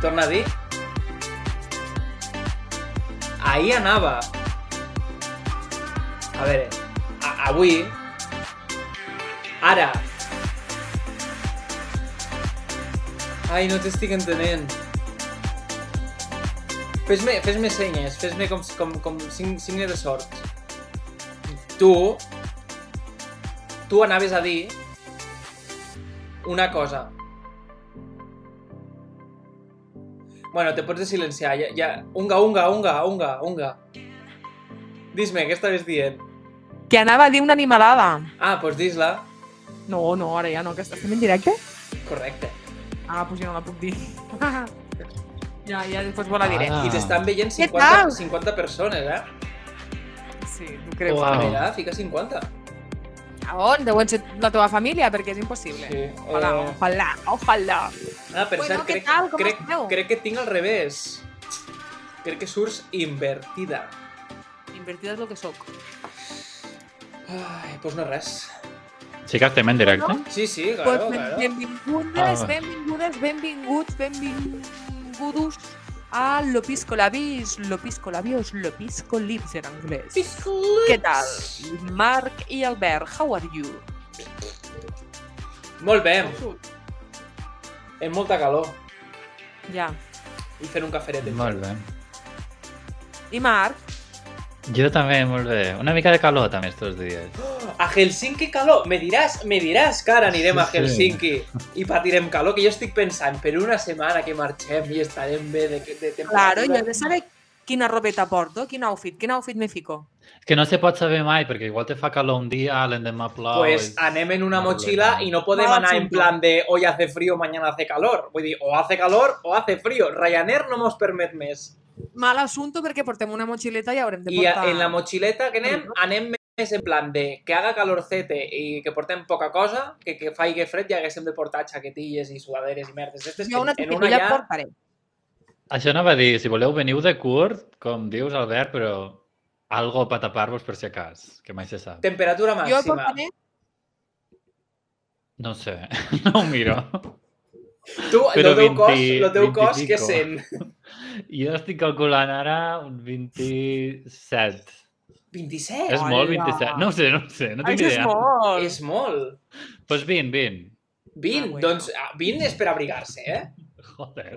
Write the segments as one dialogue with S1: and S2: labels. S1: torna a dir? Ahir anava. A veure, a avui... Ara. Ai, no t'estic entenent. Fes-me fes me senyes, fes-me com, com, com sign- signe de sort. Tu... Tu anaves a dir una cosa. Bueno, te pots de silenciar. Ja, ja. Unga, unga, unga, unga, unga. Dis-me, què estaves dient?
S2: Que anava a dir una animalada.
S1: Ah, doncs dis-la.
S2: No, no, ara ja no, que estem en directe?
S1: Correcte.
S2: Ah, doncs ja no la puc dir. ja, ja després me la diré.
S3: Ah.
S1: I t'estan veient
S2: Què
S1: 50,
S2: tal?
S1: 50 persones, eh?
S2: Sí, tu creus.
S3: Uau.
S1: A
S3: Ah.
S1: veure, fica 50.
S2: A on? Deuen ser la teva família, perquè és impossible.
S1: Sí.
S2: Ojalà,
S1: eh,
S2: ojalà, ojalà.
S1: Ah, per
S2: Bueno,
S1: cert,
S2: què
S1: crec,
S2: tal? Com
S1: crec,
S2: esteu?
S1: crec que tinc al revés. Crec que surts invertida.
S2: Invertida és el que sóc.
S1: Ai, doncs no res.
S3: Sí que estem en directe?
S1: Sí, sí, claro,
S2: Doncs ben,
S1: claro.
S2: benvingudes,
S3: Ah.
S2: benvingudes, benvinguts, benvinguts a Lopisco Labis, Lopisco Labios, Lopisco Lips en anglès. Què tal? Marc i Albert, how are you?
S1: Molt bé, amb molta calor.
S2: Ja.
S1: I fent un caferet.
S3: Molt bé.
S2: I Marc?
S3: Jo també, molt bé. Una mica de calor també estos dies.
S1: A Helsinki calor, me diràs, me diràs que ara anirem a
S3: Sí, sí.
S1: Helsinki i patirem calor, que jo estic pensant per una setmana que marxem i estarem bé de, de
S2: Claro,
S1: temperatura.
S2: jo he de saber quina robeta porto, quin outfit, quin outfit me fico.
S3: És que no se pot saber mai, perquè igual te fa calor un dia, l'endemà plou...
S1: Pues
S3: és-
S1: anem en una
S3: Molt bé.
S1: mochila y no podemos
S2: Vamos
S1: anar en
S2: juntos.
S1: plan de hoy hace frío, mañana hace calor. Vull dir, o hace calor o hace frío. Ryanair no mos permet més.
S2: Mal assumpte perquè portem una motxileta i haurem de
S1: I a-
S2: portar...
S1: en la mochileta que anem, anem més en plan de que haga calorcete i que portem poca cosa, que, que faigui fred i haguéssim de portar xaquetilles i sudaderes i merdes. Estes,
S2: Jo una
S1: en, en
S2: etiqueta
S1: una
S2: ja...
S1: ja...
S2: portaré.
S3: Això anava a dir, si voleu veniu de curt, com dius, Albert, però algo per tapar-vos per si acas, que mai se sap.
S1: Temperatura
S2: Jo
S1: màxima.
S2: portaré...
S3: No ho sé, no ho miro.
S1: Tu, el
S3: Però
S1: teu cos,
S3: 20,
S1: el teu cos,
S3: 20
S1: què
S3: pico.
S1: sent?
S3: Jo estic calculant ara un 27.
S1: 27?
S3: És molt,
S2: Hola.
S3: 27. No ho sé, no ho sé, no tinc
S2: Això és
S3: idea.
S2: molt!
S1: És molt.
S3: Doncs pues 20, 20.
S1: 20,
S2: Ah, bueno.
S1: doncs ah, 20 és per abrigar-se, eh?
S3: Joder.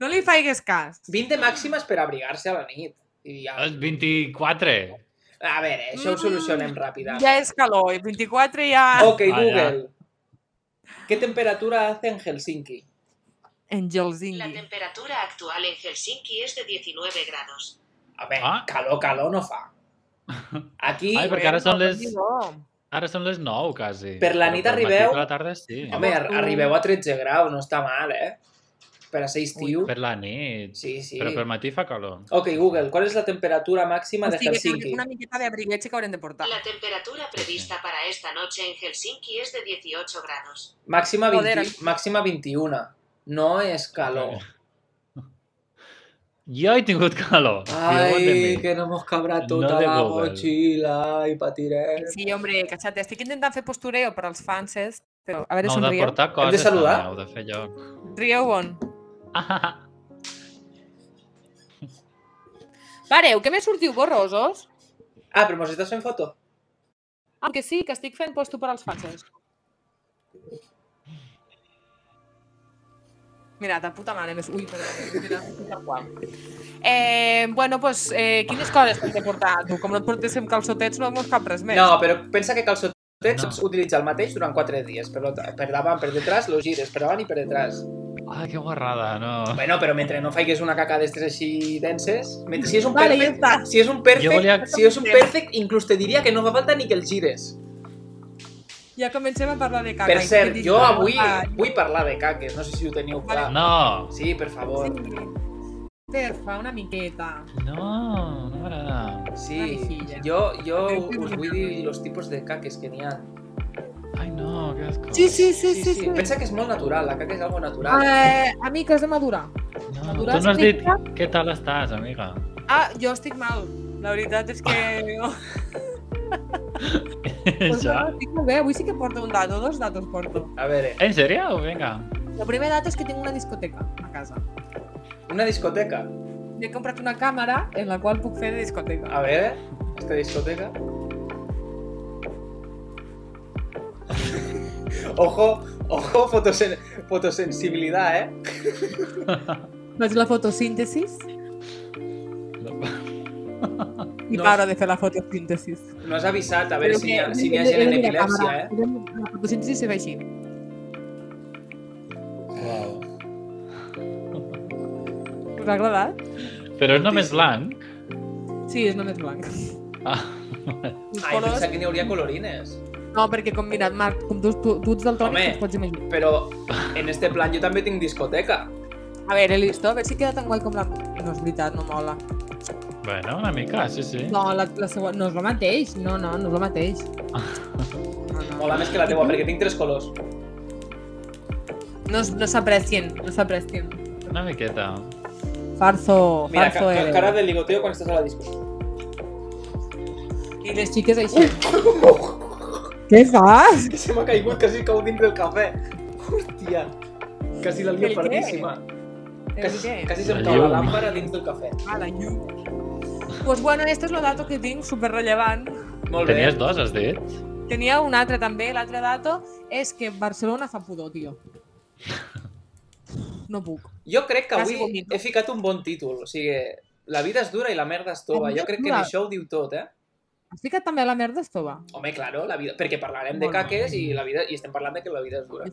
S2: No li faigues cas.
S1: 20 màximes per abrigar-se a la nit. I ja...
S3: És 24.
S1: A veure, això ho
S2: Mm,
S1: solucionem ràpida.
S2: Ja és calor, i 24 ja...
S1: Ok,
S3: Ah,
S1: Google. ¿Qué temperatura hace en Helsinki?
S2: En
S4: La
S2: Gelsingi.
S4: temperatura actual en Helsinki es de 19 grados.
S1: A ver,
S3: Ah.
S1: calor, calor no fa. Aquí,
S3: Ai, perquè ara són les,
S2: Bueno,
S3: ara són les 9, quasi.
S1: Per la
S3: Però
S1: nit
S3: pel matí
S1: arribeu-
S3: Per la tarda, sí.
S1: home, ar- arribeu a 13 graus, no està mal, eh? Per a ser estiu.
S3: Per la nit.
S1: Sí, sí.
S3: Però pel matí fa calor.
S1: Ok, Google, ¿cuál es la temperatura máxima de
S2: o sigui, que
S1: Helsinki?
S2: una miqueta de abriguets sí que haurem de portar.
S4: La temperatura prevista para esta noche en Helsinki es de 18 grados.
S1: Máxima,
S2: Joder,
S1: 20 máxima 21. No es calor.
S3: Jo he tingut calor.
S1: Ay,
S3: Diuen de mi.
S1: que no hemos cabra
S3: No
S1: toda
S3: de
S1: la
S3: Google.
S1: mochila y patiré.
S2: Eh, Sí, hombre, cachate, estic intentant fer postureo per als fanses, però a veure no,
S3: No heu de
S2: somrieu.
S3: portar coses.
S1: de saludar?
S3: també, Heu de fer lloc.
S2: Rieu bon.
S3: Ah, ah, ah.
S2: Pareu, que me sortiu gorrosos?
S1: Ah, pero mos estás en foto.
S2: Ah, que sí, que estic fent posto per als fanses. Mira, ta puta mare, més... Ui, perdó, mira, tal qual. Eh, bueno, pues, eh, quines coses t'has de portar? Tu, com no et portéssim calçotets, no mos cap res més.
S1: No, però pensa que calçotets
S3: No.
S1: no. utilitza el mateix durant 4 dies. Per, lo- per davant, per detrás, lo gires per davant i per detrás.
S3: Ah, que guarrada, no.
S1: Bueno, però mentre no faigues una caca d'estes així denses... Mentre, si és un
S2: Vale, ja
S1: perfect,
S2: està.
S1: si és un perfect,
S3: Jo volia-
S1: si és un perfect, inclús te diria que no fa falta ni que el gires.
S2: Ja comencem a parlar de caca.
S1: Per cert, jo avui
S2: Ah,
S1: vull parlar de caques, no sé si ho teniu clar.
S3: No,
S1: Sí, per favor.
S2: sí. Perfa, una miqueta.
S3: no, no m'agrada.
S1: Sí, jo, jo us vull dir els tipus de caques que n'hi ha.
S3: Ai, no, que asco.
S2: Sí, sí, sí, sí. sí.
S1: Pensa que és molt natural, la caca és algo natural.
S2: Eh, amiques de Madura.
S3: No, tu
S2: Madura
S3: no has dit
S2: explica-
S3: què tal estàs, amiga.
S2: Ah, jo estic mal. La veritat és que... Pues no,
S3: Això.
S2: estic molt bé, avui sí que porto un dato, dos datos porto.
S1: A eh, veure,
S3: En sèrio? Vinga.
S2: La primera data es que tengo una discoteca a casa.
S1: Una discoteca.
S2: He comprat una càmera en la qual puc fer de discoteca.
S1: A veure, esta discoteca. Ojo, ojo, fotosen fotosensibilidad, eh?
S2: Faig la fotosíntesis i
S1: No.
S2: paro de fer la fotosíntesis.
S1: No has avisat, a veure si hi ha, si hi ha gent en epilèpsia, eh?
S2: La fotosíntesis se fa així.
S3: Uau.
S2: Us ha agradat?
S3: Però és només blanc.
S2: Sí, és només blanc.
S3: Ah,
S2: Els
S1: Ai,
S2: colors...
S1: pensava que n'hi hauria colorines.
S2: No, perquè com mira, Marc, com tu, tu, tu ets del tònic,
S1: Home.
S2: et pots imaginar.
S1: Però en este plan jo també tinc discoteca.
S2: A veure, listo, a veure si queda tan guai com la... No, és veritat, no mola.
S3: bueno, una mica, sí, sí.
S2: No, la, la següent... No és el mateix. No, no, no és el mateix. No, no.
S1: Mola més que la teua, perquè tinc tres colors.
S2: No, s- no s'aprecien, no s'aprecien.
S3: Una miqueta.
S2: Farzo,
S1: Mira, ca
S2: farzo
S1: ca-
S2: eres.
S1: cara de ligoteo quan estàs a la disco.
S2: I les xiques així. Què fas?
S1: Que se m'ha caigut, quasi cau dins del cafè. Hòstia, quasi la lia
S2: El què?
S1: perdíssima. Quasi,
S2: Què?
S1: quasi se'm
S3: La
S1: cau la
S3: llum.
S1: làmpara dins del cafè.
S2: A la llum. Pues bueno, esta és la dato que tinc, superrellevant.
S1: Molt bé.
S3: Tenies dos, has dit?
S2: Tenia un altre també, l'altre dato és que Barcelona fa pudor, tio. No puc.
S1: Jo crec que
S2: Quasi
S1: avui
S2: vomito.
S1: he ficat un bon títol. O sigui, la vida és dura i la merda és
S2: La
S1: tova.
S2: vida
S1: Jo
S2: és
S1: crec que
S2: dura.
S1: això ho diu tot, eh?
S2: Has ficat també la merda és tova?
S1: Home, claro, la vida... perquè parlarem de
S2: Molt bé.
S1: caques i la vida i estem parlant de que la vida és dura.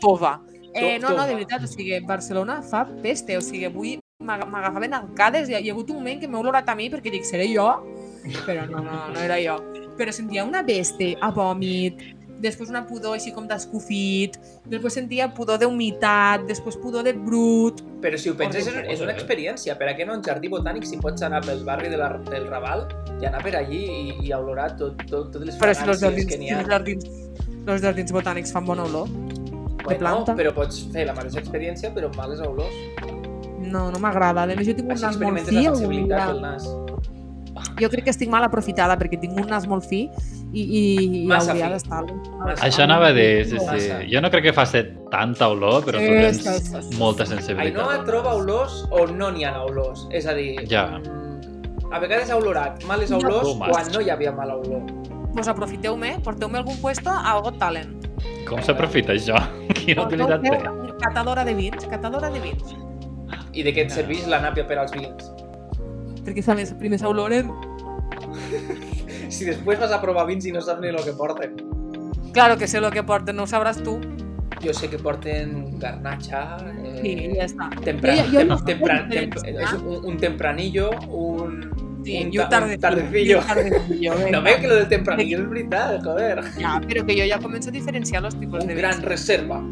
S2: Tova. Eh,
S1: To-
S2: no, no,
S1: tova.
S2: de veritat, o sigui, Barcelona fa peste, o sigui, avui m'ag- m'agafaven arcades, hi ha, hi ha hagut un moment que m'he olorat a mi perquè dic, seré jo? Però no, no, no era jo. Però sentia una peste a vòmit, després una pudor així com d'escofit, després sentia pudor d'humitat, després pudor de brut...
S1: Però si ho penses, és,
S3: Horrible.
S1: és una experiència. Per a què no un jardí botànic si pots anar pel barri de la, del Raval i anar per allí i, i olorar tot, tot, totes les
S2: Però si els
S1: fragàncies
S2: jardins,
S1: que n'hi
S2: si
S1: ha.
S2: els jardins, els jardins botànics fan bona olor, planta.
S1: però pots fer la mateixa experiència, però amb males olors.
S2: no, no m'agrada. A més, jo tinc un
S1: Així
S2: nas molt
S1: experimentes
S2: fi,
S1: la
S2: algun dia-
S1: sensibilitat del nas.
S2: jo crec que estic mal aprofitada perquè tinc un nas molt fi i, i, i
S1: Massa
S2: hauria
S1: fi.
S2: d'estar-lo.
S1: Massa.
S3: Això anava a dir, sí, sí.
S1: Massa.
S3: Jo no crec que faci tanta olor, però tu
S2: Sí,
S3: tens
S2: sí, sí.
S3: molta
S1: Ainhoa
S3: sensibilitat.
S1: troba olors on no n'hi ha olors. És a dir,
S3: Ja.
S1: mm, a vegades ha olorat males olors
S3: Tu, Mas.
S1: quan no hi havia mala olor.
S2: Pues aprofiteu-me, porteu-me a algun puesto a Got Talent.
S3: Com s'aprofita això? Quina utilitat té?
S2: Porteu-me una Catadora de vins, catadora de vins.
S1: I de què et serveix la nàpia per als vins?
S2: Perquè s'ha més, primer s'oloren.
S1: Si després vas a provar vins i no saps ni el que porten.
S2: Claro que sé lo que porten, no ho sabràs tu.
S1: Jo sé que porten garnatxa, eh,
S2: Sí, ja està.
S1: Tempran,
S2: Jo- jo
S1: tem-
S2: no eh? sé
S1: tempran-
S2: diferenciar.
S1: temp- és un, un tempranillo, un...
S2: Sí,
S1: un
S2: i un
S1: ta-
S2: tarde,
S1: tardecillo.
S2: Un tardecillo,
S1: No
S2: venga.
S1: veu que lo del tempranillo és veritat, joder.
S2: Ja, però que jo ja començo a diferenciar los tipus
S1: Un
S2: Pues de
S1: gran
S2: vins.
S1: reserva.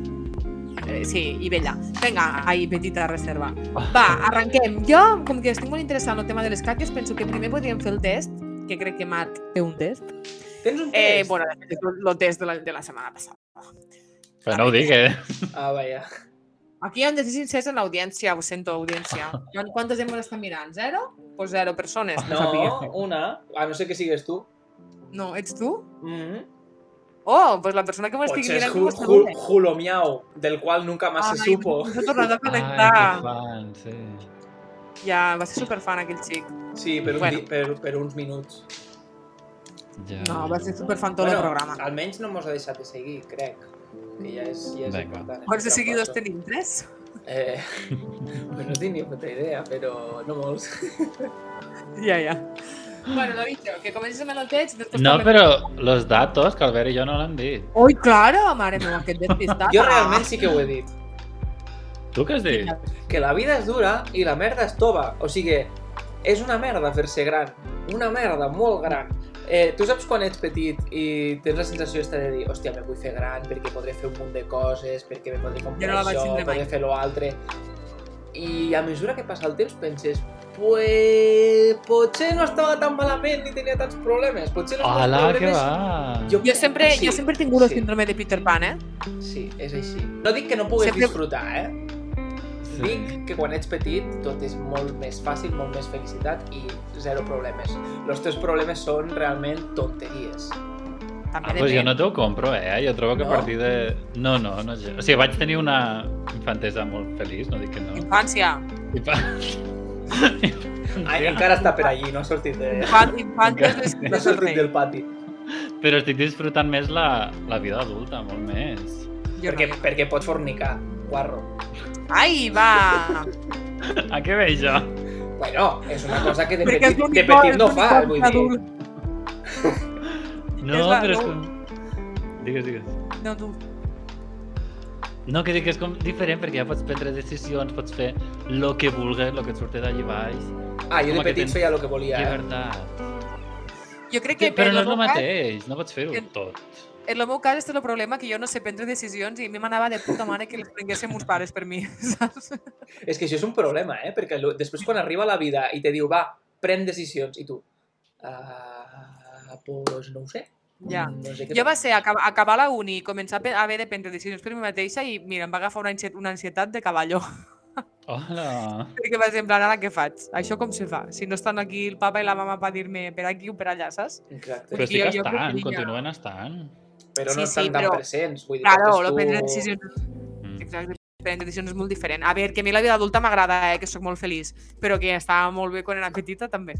S2: Eh, sí, i vella. Venga, ahí, petita reserva. Va, arrenquem. Jo, com que estic molt interessant en el tema de les caques, penso que primer podríem fer el test, que crec que Marc té un test.
S1: Tens un
S2: Eh,
S1: test?
S2: bueno, de fet, és el el test de la, de la setmana passada.
S3: Però no ho digues.
S1: Ah, vaja.
S2: Aquí han de ser sincers en l'audiència, ho sento, audiència. Quan- Quantes hem estat mirant? Zero? Pues zero persones.
S1: Ah, No, una. A no ser que sigues tu.
S2: No, ets tu?
S1: Mm -hmm.
S2: Oh, pues la persona que m'estigui
S1: Potser és
S2: mirant...
S1: Ju- Ju- Julo Miau, del qual nunca más se
S2: Ai,
S1: supo.
S2: S'ha tornat a
S3: Ai, que
S2: connectar.
S3: fan, sí.
S2: Ja, va ser superfan aquell xic.
S1: Sí, per, un
S2: Bueno.
S1: di- per, per uns minuts.
S3: Ja.
S2: No, va ser superfan tot el programa.
S1: almenys no mos ha deixat de seguir, crec. Que ja és, ja és
S3: Vinga.
S1: important. eh,
S2: Quants Pues de este. seguidors
S1: tenim?
S2: tenim? Tres?
S1: Eh, pues no tinc ni puta idea, però no molts.
S2: Ja, ja. Bueno, lo dicho, que comencem amb el text i després...
S3: No,
S2: parlem-
S3: però los datos que Albert i jo no l'han dit.
S2: Ui, claro, mare meva, aquest despistat.
S1: Jo realment sí que ho he dit.
S3: Tu què has dit?
S1: Que la vida és dura i la merda és tova. O sigui, és una merda fer-se gran. Una merda molt gran. Eh, tu saps quan ets petit i tens la sensació esta de dir hòstia, me vull fer gran perquè podré fer un munt de coses, perquè me podré comprar
S2: Jo no la vaig
S1: això,
S2: tindre mai.
S1: podré fer l'altre... I a mesura que passa el temps penses pues... potser no estava tan malament ni tenia tants problemes. Potser no
S3: Hola, que
S1: problemes...
S3: va.
S2: Jo sempre, jo sempre he tingut el
S1: sí.
S2: síndrome de Peter Pan, eh?
S1: Sí, és així. No dic que no puguis
S2: Sempre-
S1: disfrutar, eh? Dic que quan ets petit tot és molt més fàcil, molt més felicitat i zero problemes. Els teus problemes són realment tonteries.
S2: també
S3: Ah,
S2: depèn.
S3: pues jo no t'ho compro, eh? Jo trobo que
S1: No?
S3: a partir de... No, no, no. gens. O sigui, vaig tenir una infantesa molt feliç, no dic que no.
S2: Infància.
S3: I pa...
S1: Ai, encara està per allí, no ha sortit, de...
S2: Infant, infantes
S1: no
S2: les
S1: ha
S2: cries del
S1: sortit
S2: rei.
S1: del pati.
S3: Però estic disfrutant més la, la vida adulta, molt més.
S2: Jo
S1: Perquè,
S2: no.
S1: perquè pots fornicar, guarro.
S2: Ai, va!
S3: A què ve això?
S1: Bueno, és una cosa que de
S2: Perquè
S1: petit,
S2: és
S1: de
S2: l'únic
S1: petit no
S2: és l'únic
S1: fa, vull dir.
S2: adult.
S3: No,
S2: És la-
S3: però és
S2: no.
S3: com... Digues, digues.
S2: No, tu.
S3: No, que dic que és com diferent perquè ja pots prendre decisions, pots fer el que vulgues, el que et surti d'allí baix.
S1: Ah, jo
S3: Home,
S1: de
S3: que
S1: petit
S3: tens-
S1: feia el que volia, eh?
S3: Llibertat.
S2: Jo crec que
S3: Que, però
S2: en
S3: no
S2: el
S3: és el
S2: meu cas-
S3: mateix, no pots fer-ho
S2: que-
S3: tot.
S2: En el meu cas, este és el problema, que jo no sé prendre decisions i a mi m'anava de puta mare que les prenguessin uns pares per mi, saps?
S1: És que això és un problema, eh? Perquè lo- després quan arriba la vida i te diu, va, pren decisions, i tu... Ah, pues no ho sé.
S2: Ja.
S1: No sé què
S2: Jo va ser acab acabar la uni i començar a pe- a haver de prendre decisions per mi mateixa i, mira, em va agafar una, anxie- una ansietat de cavallo.
S3: Hola.
S2: Perquè va ser en plan, ara què faig? Això com se fa? Si no estan aquí el papa i la mama per dir-me per aquí o per allà, saps?
S1: Exacte. Però,
S3: Però
S2: Pues-
S3: estic
S2: jo- jo
S3: estant,
S2: preferiria-
S3: continuen estant.
S1: però no
S2: sí,
S1: estan
S2: sí,
S1: tan
S2: però-
S1: presents. Vull dir,
S2: Claro,
S1: portes
S2: lo
S1: tu-
S2: prendre decisions...
S3: Mm.
S2: Exacte, prendre decisions és molt diferent. A veure, que a mi la vida adulta m'agrada, eh, que sóc molt feliç, però que estava molt bé quan era petita també.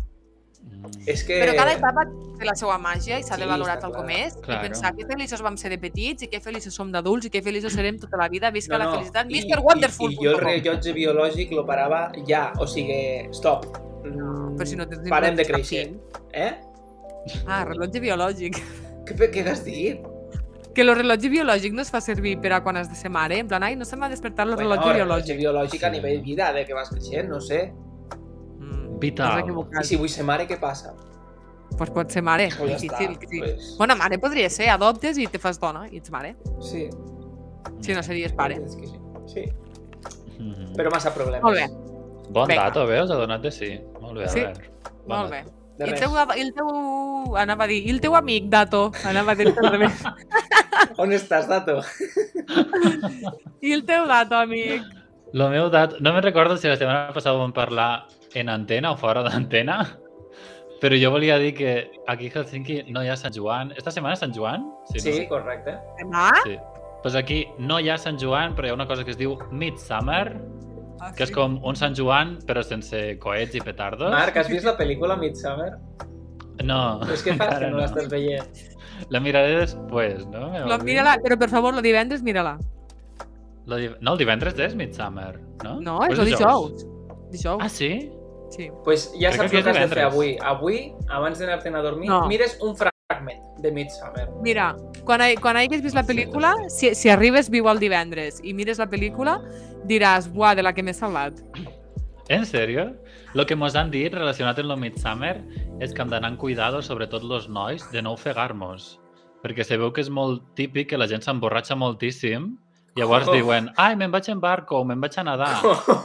S3: Mm.
S1: És que...
S2: Però cada etapa té la seva màgia i s'ha de
S1: Sí,
S2: valorar
S1: està
S2: tal com
S1: clar.
S2: és
S3: Claro.
S2: i pensar que feliços vam ser de petits i que feliços som d'adults i que feliços serem tota la vida. Visca la felicitat.
S1: I-
S2: Mr. Wonderful.
S1: I, i jo el rellotge biològic lo parava ja, o sigui, stop. Mm,
S2: Però si no tens
S1: Parem de
S2: ningú,
S1: créixer. Eh?
S2: Ah, rellotge biològic.
S1: Què, què has dit?
S2: Que el rellotge biològic no es fa servir per a quan has de ser mare. En plan, ai, no se m'ha despertat el rellotge biològic.
S1: biològic a
S3: Sí.
S1: nivell vida, de que vas creixent, no sé.
S2: Mm, t'has
S3: Vital.
S1: I
S2: equivocat.
S1: si vull ser mare, què passa?
S2: Pues pot ser mare.
S1: Pues ja està.
S2: Difícil, sí.
S1: Pues,
S2: Bona mare podria ser, adoptes i te fas dona i ets mare.
S1: sí.
S2: Si
S1: Mm.
S2: no series pare.
S1: És que sí. sí.
S3: Mhm.
S1: Però massa problemes.
S2: Molt bé,
S3: Bon
S2: Vinga.
S3: dato, veus? Ha donat de sí. Molt bé,
S2: Sí.
S3: Albert. Bon
S2: molt
S3: dato.
S2: bé.
S1: De
S2: I el
S1: res.
S2: teu, av- i el teu... Anava a dir, i el teu amic, Dato. Anava a dir al revés.
S1: On estàs, Dato?
S2: I el teu Dato, amic.
S3: Lo meu dat... No me'n recordo si la setmana passada vam parlar en antena o fora d'antena, però jo volia dir que aquí a Helsinki no hi ha Sant Joan. Esta setmana és Sant Joan?
S1: Sí,
S3: No?
S1: correcte.
S2: Demà?
S3: Sí. Pues aquí no hi ha Sant Joan, però hi ha una cosa que es diu Midsummer,
S2: Ah,
S3: que és com un Sant Joan, però sense coets i petardos.
S1: Marc, has vist la pel·lícula Midsummer?
S3: No,
S1: Però és que fas que
S3: encara
S1: no l'estàs veient.
S3: La miraré després, no? Me
S2: Lo,
S3: vol dir.
S2: mira-la, però per favor, lo divendres mira-la.
S3: Lo di- No, el divendres és Midsummer, no?
S2: No,
S3: O
S2: és el dijous. Dijous,
S3: Ah, sí?
S2: sí.
S1: pues ja
S3: Crec
S1: saps
S3: que
S1: el que has de fer
S3: divendres.
S1: avui. Avui, abans d'anar-te'n a dormir,
S2: No.
S1: mires un fragment de Midsummer.
S2: Mira, quan, hai- quan hagis vist la pel·lícula, si, si arribes viu el divendres i mires la pel·lícula, diràs, buah, de la que m'he salvat.
S3: En serio? Lo que mos han dit relacionat amb lo Midsummer és que hem d'anar amb cuidado, sobretot los nois, de no ofegar-nos. Perquè se veu que és molt típic que la gent s'emborratxa moltíssim Llavors
S1: Oh.
S3: diuen, ai, me'n vaig en barco, me'n vaig a nadar.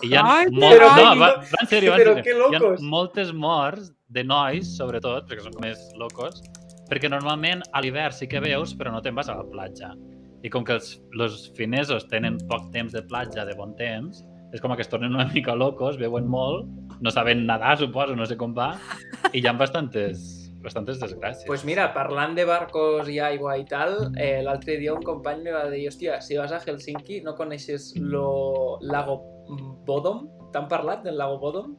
S3: I hi ha
S2: Ai,
S3: molt...
S1: però
S3: no,
S1: que-
S3: va, va en sèrio, va en
S1: però
S3: sèrio.
S1: que
S3: Hi ha
S1: locos.
S3: moltes morts de nois, sobretot, perquè són més locos, perquè normalment a l'hivern sí que veus, però no te'n vas a la platja. I com que els, los finesos tenen poc temps de platja, de bon temps, és com que es tornen una mica locos, veuen molt, no saben nadar, suposo, no sé com va, i hi ha bastantes, bastantes desgràcies.
S1: Pues mira, parlant de barcos i aigua i tal, eh, l'altre dia un company me va dir, hòstia, si vas a Helsinki no coneixes lo lago Bodom? T'han parlat del lago Bodom?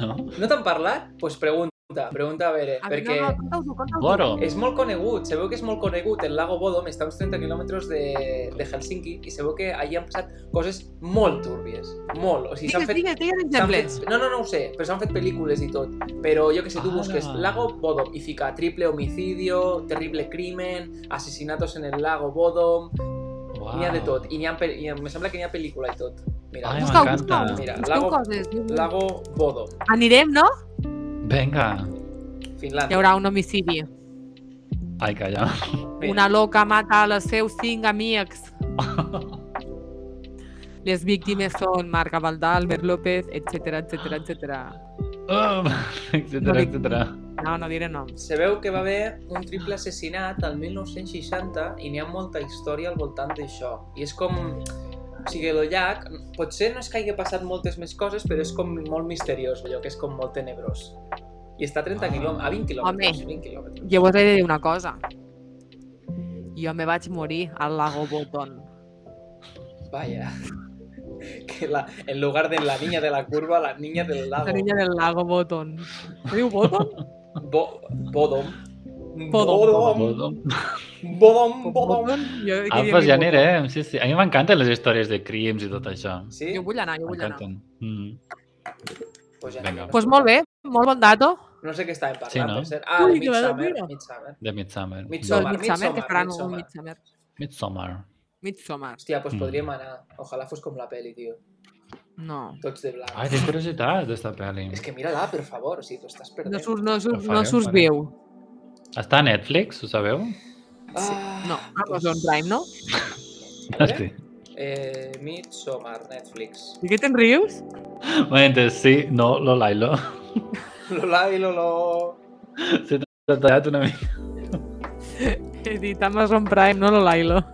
S3: No?
S1: No t'han parlat? Doncs pues pregunta, pregunta a veure,
S2: A mi
S1: perquè...
S2: no, no, conta-ho, conta-ho.
S3: Boro.
S1: És molt conegut, se veu que és molt conegut. El lago Bodom està a uns 30 quilòmetres de, de Helsinki i se veu que allí han passat coses molt túrbies, molt. O sigui, s'han
S2: Digues,
S1: fet,
S2: digues, digues
S1: s'han
S2: exemples.
S1: fet... No, no, no ho sé, però s'han fet pel·lícules i tot. Però jo que sé, tu
S3: Ah.
S1: busques lago Bodom i fica triple homicidio, terrible crimen, asesinatos en el lago Bodom,
S3: Wow.
S1: n'hi ha de tot. I, n'hi ha, pel- i em sembla que n'hi ha pel·lícula i tot. Mira,
S3: Ai,
S2: Busca-ho,
S3: m'encanta.
S2: busca-ho.
S1: Mira,
S2: Busqueu
S1: lago-
S2: coses.
S1: lago Bodom,
S2: Anirem, no?
S3: Venga.
S1: Finlàndia.
S2: Hi haurà un homicidi.
S3: Ai, calla.
S1: Mira.
S2: Una loca mata els seus cinc amics. Les víctimes són Marc Gavaldà, Albert López, etc etc etc.
S3: Um, etcètera, etcètera.
S2: No, no diré noms.
S1: Se veu que va haver un triple assassinat al 1960 i n'hi ha molta història al voltant d'això. I és com... O sigui, el llac, potser no és que hagi passat moltes més coses, però és com molt misteriós, allò que és com molt tenebrós. I està a 30
S3: Ah.
S1: quilòmetres, a 20 quilòmetres, 20 quilòmetres.
S2: Jo vos he de dir una cosa. Jo me vaig morir al lago Bolton.
S1: Vaya. Que la, en lugar de la niña de la curva, la niña del lago.
S2: La niña del lago Bolton. Es diu Bolton?
S1: Bo- Bodom.
S2: Bodom.
S1: Bodom. Bodom. Bodom.
S2: Bolton? Jo, aquí
S3: Alfes,
S2: diria
S3: Ah, ja anirem. Sí, sí. A mi m'encanten les històries de crims i tot això.
S1: Sí?
S2: Jo vull anar, jo vull anar.
S3: M'encanten. Mm.
S1: Pues ja
S3: Vinga.
S1: anirem.
S2: Pues molt bé, molt bon dato.
S1: No sé què estàvem parlant,
S3: Sí, no?
S1: per cert. Ah,
S2: Ui,
S1: Ui,
S2: que va de
S1: Midsummer.
S2: mira.
S1: Midsummer.
S3: De Midsummer.
S2: Del
S1: Midsommar. Midsommar,
S2: Midsummer, que faran
S1: Midsommar.
S2: un Midsummer.
S3: Midsommar.
S2: Midsommar.
S1: Hòstia, pues
S3: Mm.
S1: podríem anar. Ojalà fos com la peli, tio.
S2: No.
S1: Tots de blanc.
S3: Ai, tinc curiositat d'esta pel·li.
S1: És que mira-la, per favor, si t'ho estàs perdent.
S2: No surts, no surts, no
S3: faré,
S2: surts
S3: faré.
S2: viu.
S3: Està a Netflix, ho sabeu?
S2: Sí.
S1: Ah,
S2: No, Amazon Prime, no?
S1: A
S3: Sí.
S1: veure, eh, Midsommar, Netflix.
S2: I què te'n rius?
S3: Bueno, sí, no, lo Lailo.
S1: Lola i Lolo.
S3: S'ha tallat una mica.
S2: He dit Amazon Prime, no lo Lailo.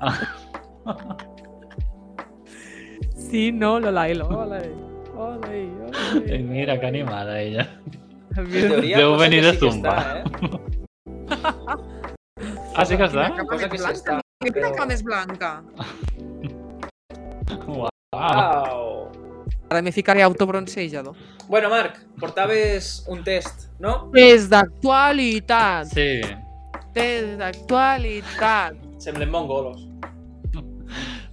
S2: Sí, no lo Lailo. Hola, eh. hola, eh, hola.
S3: Ai,
S2: eh.
S3: Mira, que animada ella.
S2: Has
S1: En
S2: vist?
S1: teoria,
S3: Deu
S1: cosa
S3: venir
S1: que
S3: a
S1: sí que
S3: Zumba.
S1: Està, eh?
S3: Ah, sí que està?
S2: Quina capa
S1: Cosa
S2: més
S1: que sí
S2: blanca,
S1: està,
S2: mira, Quina
S1: però-
S2: capa més blanca.
S3: Uau. Ah.
S1: Au.
S2: Ara me ficaré autobronzejador.
S1: Bueno, Marc, portaves un test, no?
S2: Test d'actualitat.
S3: Ah. Sí.
S2: Test d'actualitat.
S1: Semblen mongolos.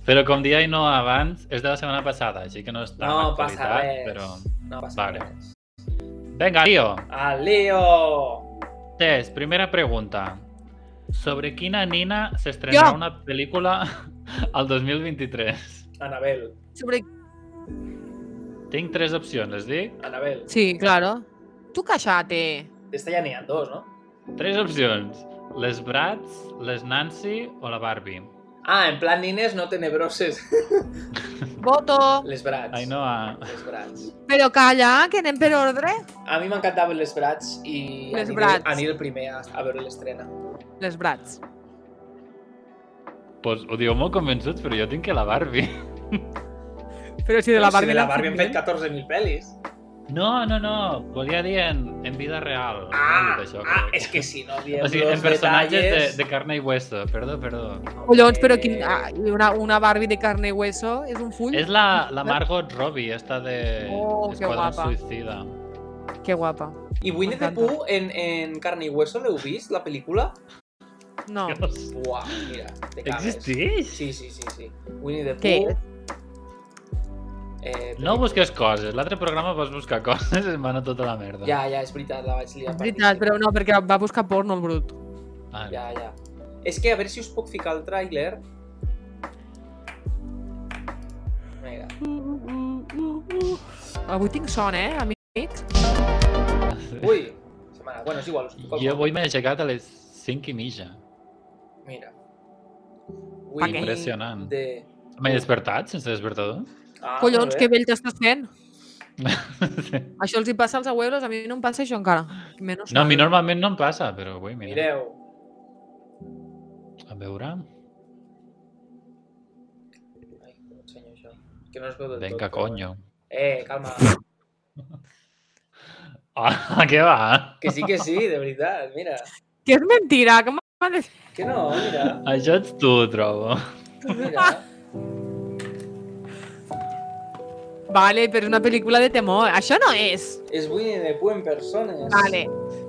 S3: Però com dia i no abans, és de la setmana passada, així que no està
S1: No passa res.
S3: però...
S1: No passa
S3: Vale.
S1: res.
S3: Vinga, Lio.
S1: Al Leo!
S3: Test, primera pregunta. Sobre quina nina s'estrenarà
S2: Jo.
S3: una pel·lícula al 2023?
S1: Anabel,
S2: Sobre...
S3: Tinc tres opcions, les dic?
S1: Anabel.
S2: Sí, claro. Tu cachate.
S1: D'esta ja n'hi ha dos, no?
S3: Tres opcions. Les Bratz, les Nancy o la Barbie.
S1: Ah, en plan nines no tenebroses.
S2: Voto.
S1: Les brats.
S3: Ai, no, ah.
S1: Les brats.
S2: Però calla, que anem per ordre.
S1: A mi m'encantaven les brats i
S2: Les
S1: aniré,
S2: Bratz.
S1: aniré el primer a, a veure l'estrena.
S2: Les brats.
S3: Pues ho diu molt convençuts, però jo tinc que la Barbie.
S2: Però si de la
S1: Però si
S2: Barbie,
S1: de la
S2: n'han
S1: Barbie han fet
S2: fet
S1: 14.000 pel·lis.
S3: No, no, no. Volia dir en, en vida real.
S1: Ah,
S3: no, dit això,
S1: ah
S3: crec.
S1: és que si no diem
S3: O sigui,
S1: los
S3: en personatges de,
S1: detalles...
S3: de carne i hueso. Perdó, perdó.
S2: Collons, però quin... ah, una, una Barbie de carne i hueso és un full.
S3: És la, la Margot Robbie, esta de
S2: Oh, que
S3: Esquadrón
S2: guapa.
S3: Suicida.
S2: Que guapa.
S1: I Winnie the
S2: M'encanta.
S1: Pooh en, en Carne i Hueso, l'heu vist, la pel·lícula?
S2: No.
S3: Dios.
S1: Uau, mira, te cagues.
S3: Existeix?
S1: Sí, sí, sí, sí. Winnie the
S2: Què
S1: Pooh... Eh,
S3: No
S1: pel·lícula.
S3: busques coses. L'altre programa vas buscar coses i em va anar tota la merda.
S1: Ja, ja, és veritat, la vaig liar.
S2: És veritat, però no, perquè va buscar porno el brut.
S3: Ah,
S1: Ja, ja. És que a veure si us puc ficar el tràiler. Vinga.
S2: Avui tinc son, eh, amics?
S3: sí.
S1: Ui, setmana. Bueno, és igual, us puc
S3: Jo avui m'he aixecat a les 5 i mitja.
S1: Mira.
S2: Pa què?
S3: Impressionant.
S1: De...
S3: M'he despertat sense despertador?
S1: Ah,
S2: Collons,
S1: molt
S2: que
S1: bé.
S2: vell t'estàs fent.
S3: Sí.
S2: Això els hi passa als abuelos, a mi no em passa això encara. Menos
S3: No, a
S2: mal.
S3: mi normalment no em passa, però avui, mira.
S1: Mireu.
S3: A veure...
S1: Ai, com ensenyo això? Que no es veu del tot.
S3: Venga,
S1: però
S3: coño.
S1: bueno. Eh, calma.
S3: Ah, què va?
S1: Que sí que sí, de veritat, mira.
S2: Que és mentira, que m'ha de...
S1: Que no, mira.
S3: Això ets tu, trobo.
S1: Mira.
S2: Vale, però és una pel·lícula de temor. Això no és.
S1: És Winnie the Pooh en persones.
S2: Vale.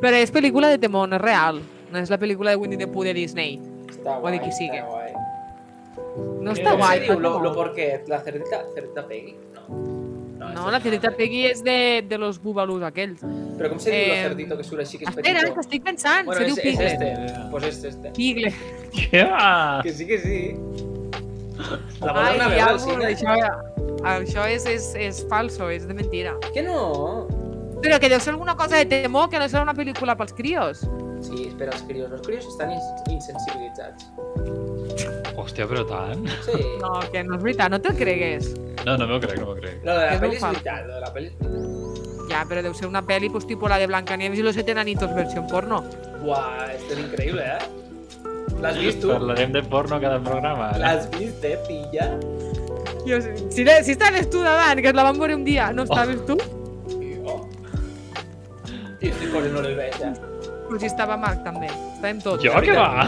S2: Però és pel·lícula de temor, no és real. No és la pel·lícula de Winnie the Pooh de Disney.
S1: Està
S2: Vull
S1: guai,
S2: dir que sigue.
S1: està guai.
S2: No
S3: Sí,
S2: està
S1: Com
S2: guai.
S1: se
S2: fa
S1: diu? Lo,
S2: temor.
S1: lo porquet? La cerdita, cerdita Peggy? No.
S2: No, la Cerita Peggy és de, de los bubalús aquells.
S1: Però com se diu lo
S2: Em,
S1: cerdito que surt així que és
S2: Espera, que
S1: petitó?
S2: estic pensant.
S1: Bueno,
S2: Se
S1: és,
S2: diu
S1: és
S2: Piglet.
S1: este. Pues este, este.
S2: Piglet.
S3: Què va?
S1: Que sí, que sí. La
S2: Ai,
S1: voleu anar a veure al
S2: diabos,
S1: cine?
S2: això, això és, és, és falso, és de mentira.
S1: Que no?
S2: Però que deu ser alguna cosa de temor, que no serà una pel·lícula pels crios.
S1: Sí, espera, els crios. Els crios estan ins- insensibilitzats.
S3: Hòstia, però tant.
S1: Sí. No,
S2: No, que no és veritat, no te'l cregues.
S3: No, no m'ho crec, no m'ho crec.
S1: lo de
S2: És
S1: la pel·li
S2: un
S1: és
S2: fal.
S1: veritat, lo de la pel·li és veritat.
S2: Ja, però deu ser una pel·li pues, tipus la de Blancanieves i los siete enanitos versió porno.
S1: Buah, esto és increïble, eh? L'has vist, tu?
S3: Parlarem de porno a cada programa. ara.
S1: L'has vist, eh, pilla?
S2: Jo, si, si estaves tu davant, que et la vam veure un dia, no estaves tu?
S1: Jo? Tio, estic corrent no les veig, ja.
S2: Però si estava Marc també, estàvem tots.
S3: Jo, què va?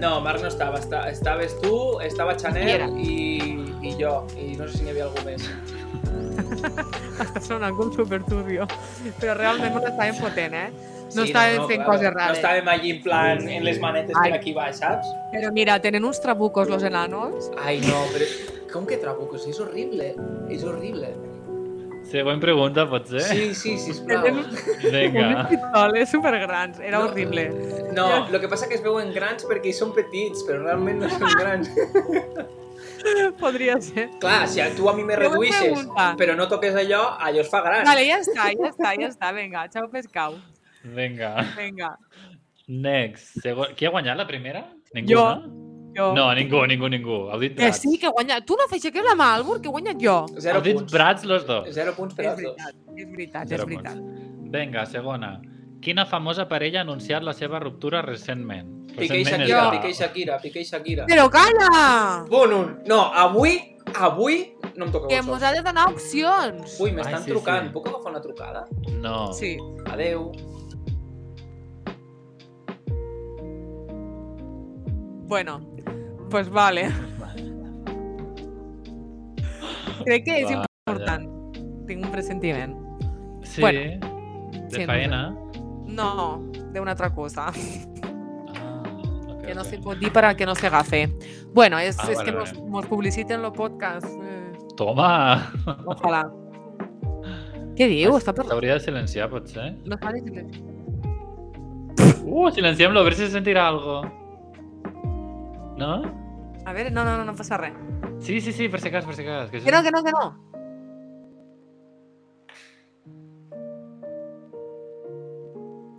S1: No, Marc no estava. Esta, estaves tu, estava
S2: Qui
S1: Chanel
S2: era?
S1: i, i jo. I no sé si n'hi havia algú més.
S2: Estàs en algun superturbio. Però realment no l'estàvem fotent, eh? No
S1: Sí,
S2: estàvem fent
S1: clar,
S2: coses
S1: No
S2: rares.
S1: estàvem allí en plan en les manetes
S2: Ai.
S1: per aquí baix, saps?
S2: Però mira, tenen uns trabucos los enanos.
S1: Ai, no, però... Com que trabucos? És horrible. És horrible.
S3: Següent pregunta, potser?
S1: Sí, sí, sisplau.
S2: Tenen
S3: Vinga.
S2: unes pistoles supergrans. Era
S1: No.
S2: horrible.
S1: No, el que passa que es veuen grans perquè són petits, però realment no són grans.
S2: Podria ser.
S1: Clar, si tu a mi me
S2: Següent
S1: reduïsses,
S2: pregunta.
S1: però no toques allò, allò es fa gran.
S2: Vale, ja està, ja està, ja està. Vinga, xau pescau.
S3: Vinga.
S2: Vinga.
S3: Next. Segon... Qui ha guanyat la primera? Ningú,
S2: Jo.
S3: no?
S2: Jo.
S3: No, ningú, ningú, ningú. Heu dit
S2: Que
S3: Bratz.
S2: sí, que he guanyat. Tu no fes aixequeu la mà, Albur, que he guanyat jo.
S1: Zero
S3: Heu dit
S1: punts.
S3: Bratz los dos.
S1: Zero punts per
S2: és
S1: als dos.
S2: veritat, és veritat,
S3: Zero
S2: és veritat.
S3: Vinga, segona. Quina famosa parella ha anunciat la seva ruptura recentment?
S1: Piqué i
S3: Recentment és
S1: Shakira,
S3: la-
S1: Piqué i Shakira, Piqué i Shakira.
S2: Però calla!
S1: Bon un. No, avui, avui, no em toca
S2: Que
S1: això.
S2: mos ha de donar opcions.
S1: Ui,
S3: Ai,
S1: m'estan
S3: sí,
S1: trucant.
S3: sí.
S1: Puc agafar una trucada?
S3: No.
S2: Sí.
S1: Adeu.
S2: Bueno, pues vale. Crec que és
S3: Vaja.
S2: important. Tinc un pressentiment.
S3: Sí,
S2: Bueno.
S3: de
S2: Sí, no
S3: faena.
S2: No, d'una altra cosa,
S3: Ah, ok,
S2: que no
S3: ok.
S2: se pot dir per a que no s'agafe. Bueno, és,
S3: Ah,
S2: és
S3: vale,
S2: que
S3: vale.
S2: mos, mos publiciten lo podcast. Eh,
S3: Toma!
S2: ojalà. Què
S3: Pues
S2: diu? Està per...
S3: S'hauria de silenciar, potser. eh?
S2: No s'ha de silenciar.
S3: Uh, silenciem-lo, a veure si se sentirà algo. No?
S2: A veure, no, no, no, no passa res.
S3: Sí, sí, sí, per si cas, per si cas. Que
S2: Que no, que no, que no.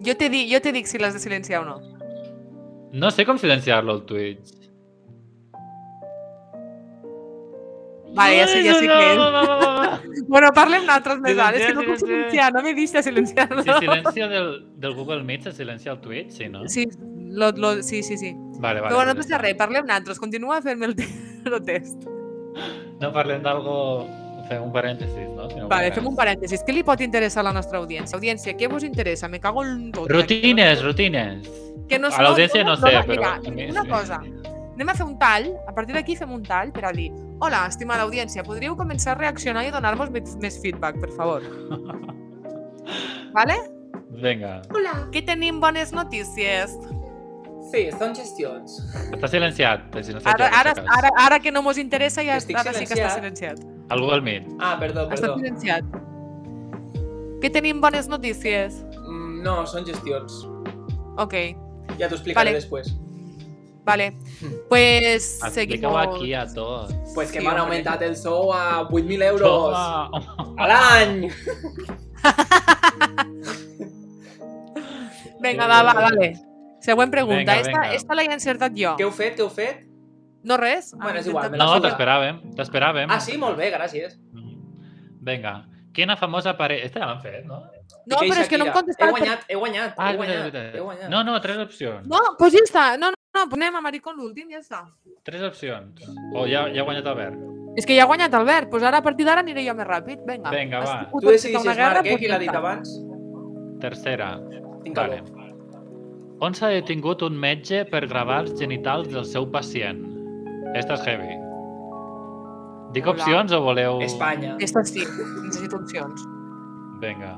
S2: Jo te, di, jo te dic si l'has de silenciar o no.
S3: no sé com silenciar-lo, al Twitch.
S2: Vale, ja sé, ja sé
S3: No,
S2: què és.
S3: no, no, no, no.
S2: Bueno, parlem nosaltres més ara. És que no
S3: Silencia,
S2: puc
S3: silencia.
S2: silenciar, no me deixa silenciar-lo.
S3: Si silencia del, del Google Meet, se silencia el Twitch, sí, no?
S2: Sí, lo, lo, sí, sí, sí.
S3: Vale, vale.
S2: Però no
S3: ja
S2: passa
S3: està.
S2: res, parlem nosaltres. Continua fent-me el, te el test.
S3: No parlem d'algo... Fem un parèntesis, no? Si no
S2: Vale,
S3: volem.
S2: fem un parèntesis. Què li pot interessar a la nostra audiència? Audiència, què vos interessa? Me cago en tot. eh?
S3: Rutines, rutines.
S2: Que no,
S3: a l'audiència no sé, però
S2: Mira,
S3: a mi
S2: una
S3: sí.
S2: cosa. Anem a fer un tall, a partir d'aquí fem un tall per a dir Hola, estimada audiència, podríeu començar a reaccionar i donar-nos més, més feedback, per favor. vale?
S3: Vinga.
S4: Hola.
S2: Que tenim bones notícies.
S1: Sí, són gestions.
S3: Està silenciat. Per si no
S2: Ara, ara,
S3: s'aixeca.
S2: ara, ara que no mos interessa, ja
S1: Estic
S2: ara sí que està
S1: silenciat.
S2: silenciat.
S3: El Google Meet.
S1: Ah, perdó,
S2: Està
S1: perdó.
S2: silenciat. Que tenim bones notícies.
S1: Mm, No, són gestions.
S2: Ok,
S1: Ja t'ho explicaré
S2: Vale.
S1: després.
S2: vale.
S1: Hmm.
S2: Pues
S1: Ah,
S3: Explica-ho
S2: seguimos.
S3: aquí a tots.
S1: Pues que
S2: Sí,
S1: m'han
S2: home.
S1: augmentat el sou a 8.000 euros
S3: Toma!
S1: a l'any. eh.
S2: Vinga, va, va, vale. Següent pregunta.
S3: Vinga,
S2: esta,
S3: vinga.
S2: esta l'he encertat jo.
S1: Què heu fet? Què heu fet?
S2: No res? Ah,
S1: Bueno, és igual, me la
S3: No,
S1: suda.
S3: t'esperàvem. T'esperàvem. Mm.
S1: Ah, sí? Molt bé, gràcies.
S3: Vinga. Quina famosa parella... Esta ja l'han fet, no?
S2: No,
S1: Piqué i
S2: però és que no em
S1: Shakira.
S2: contestat.
S1: He guanyat, he guanyat,
S3: Ah,
S1: he
S3: és veritat, és
S1: guanyat,
S3: veritat.
S1: he guanyat.
S3: No, no, tres opcions.
S2: No, pues ja està. No, no, no, anem a Maricón l'últim, ja està.
S3: Tres opcions. O oh, ja, ja ha guanyat Albert.
S2: És que ja ha guanyat Albert, pues ara a partir d'ara aniré jo més ràpid. Vinga.
S3: Vinga, va.
S2: Has pogut
S1: Tu decidixes,
S2: encetar una guerra,
S1: Marc, eh, qui l'ha dit
S2: punyeta.
S1: abans?
S3: Tercera.
S1: Tinc
S3: Vale.
S1: calor.
S3: On s'ha detingut un metge per gravar els genitals del seu pacient? Esta és heavy. Dic
S2: Hola.
S3: opcions o voleu...
S1: Espanya.
S2: Esta sí, necessito opcions.
S3: Vinga.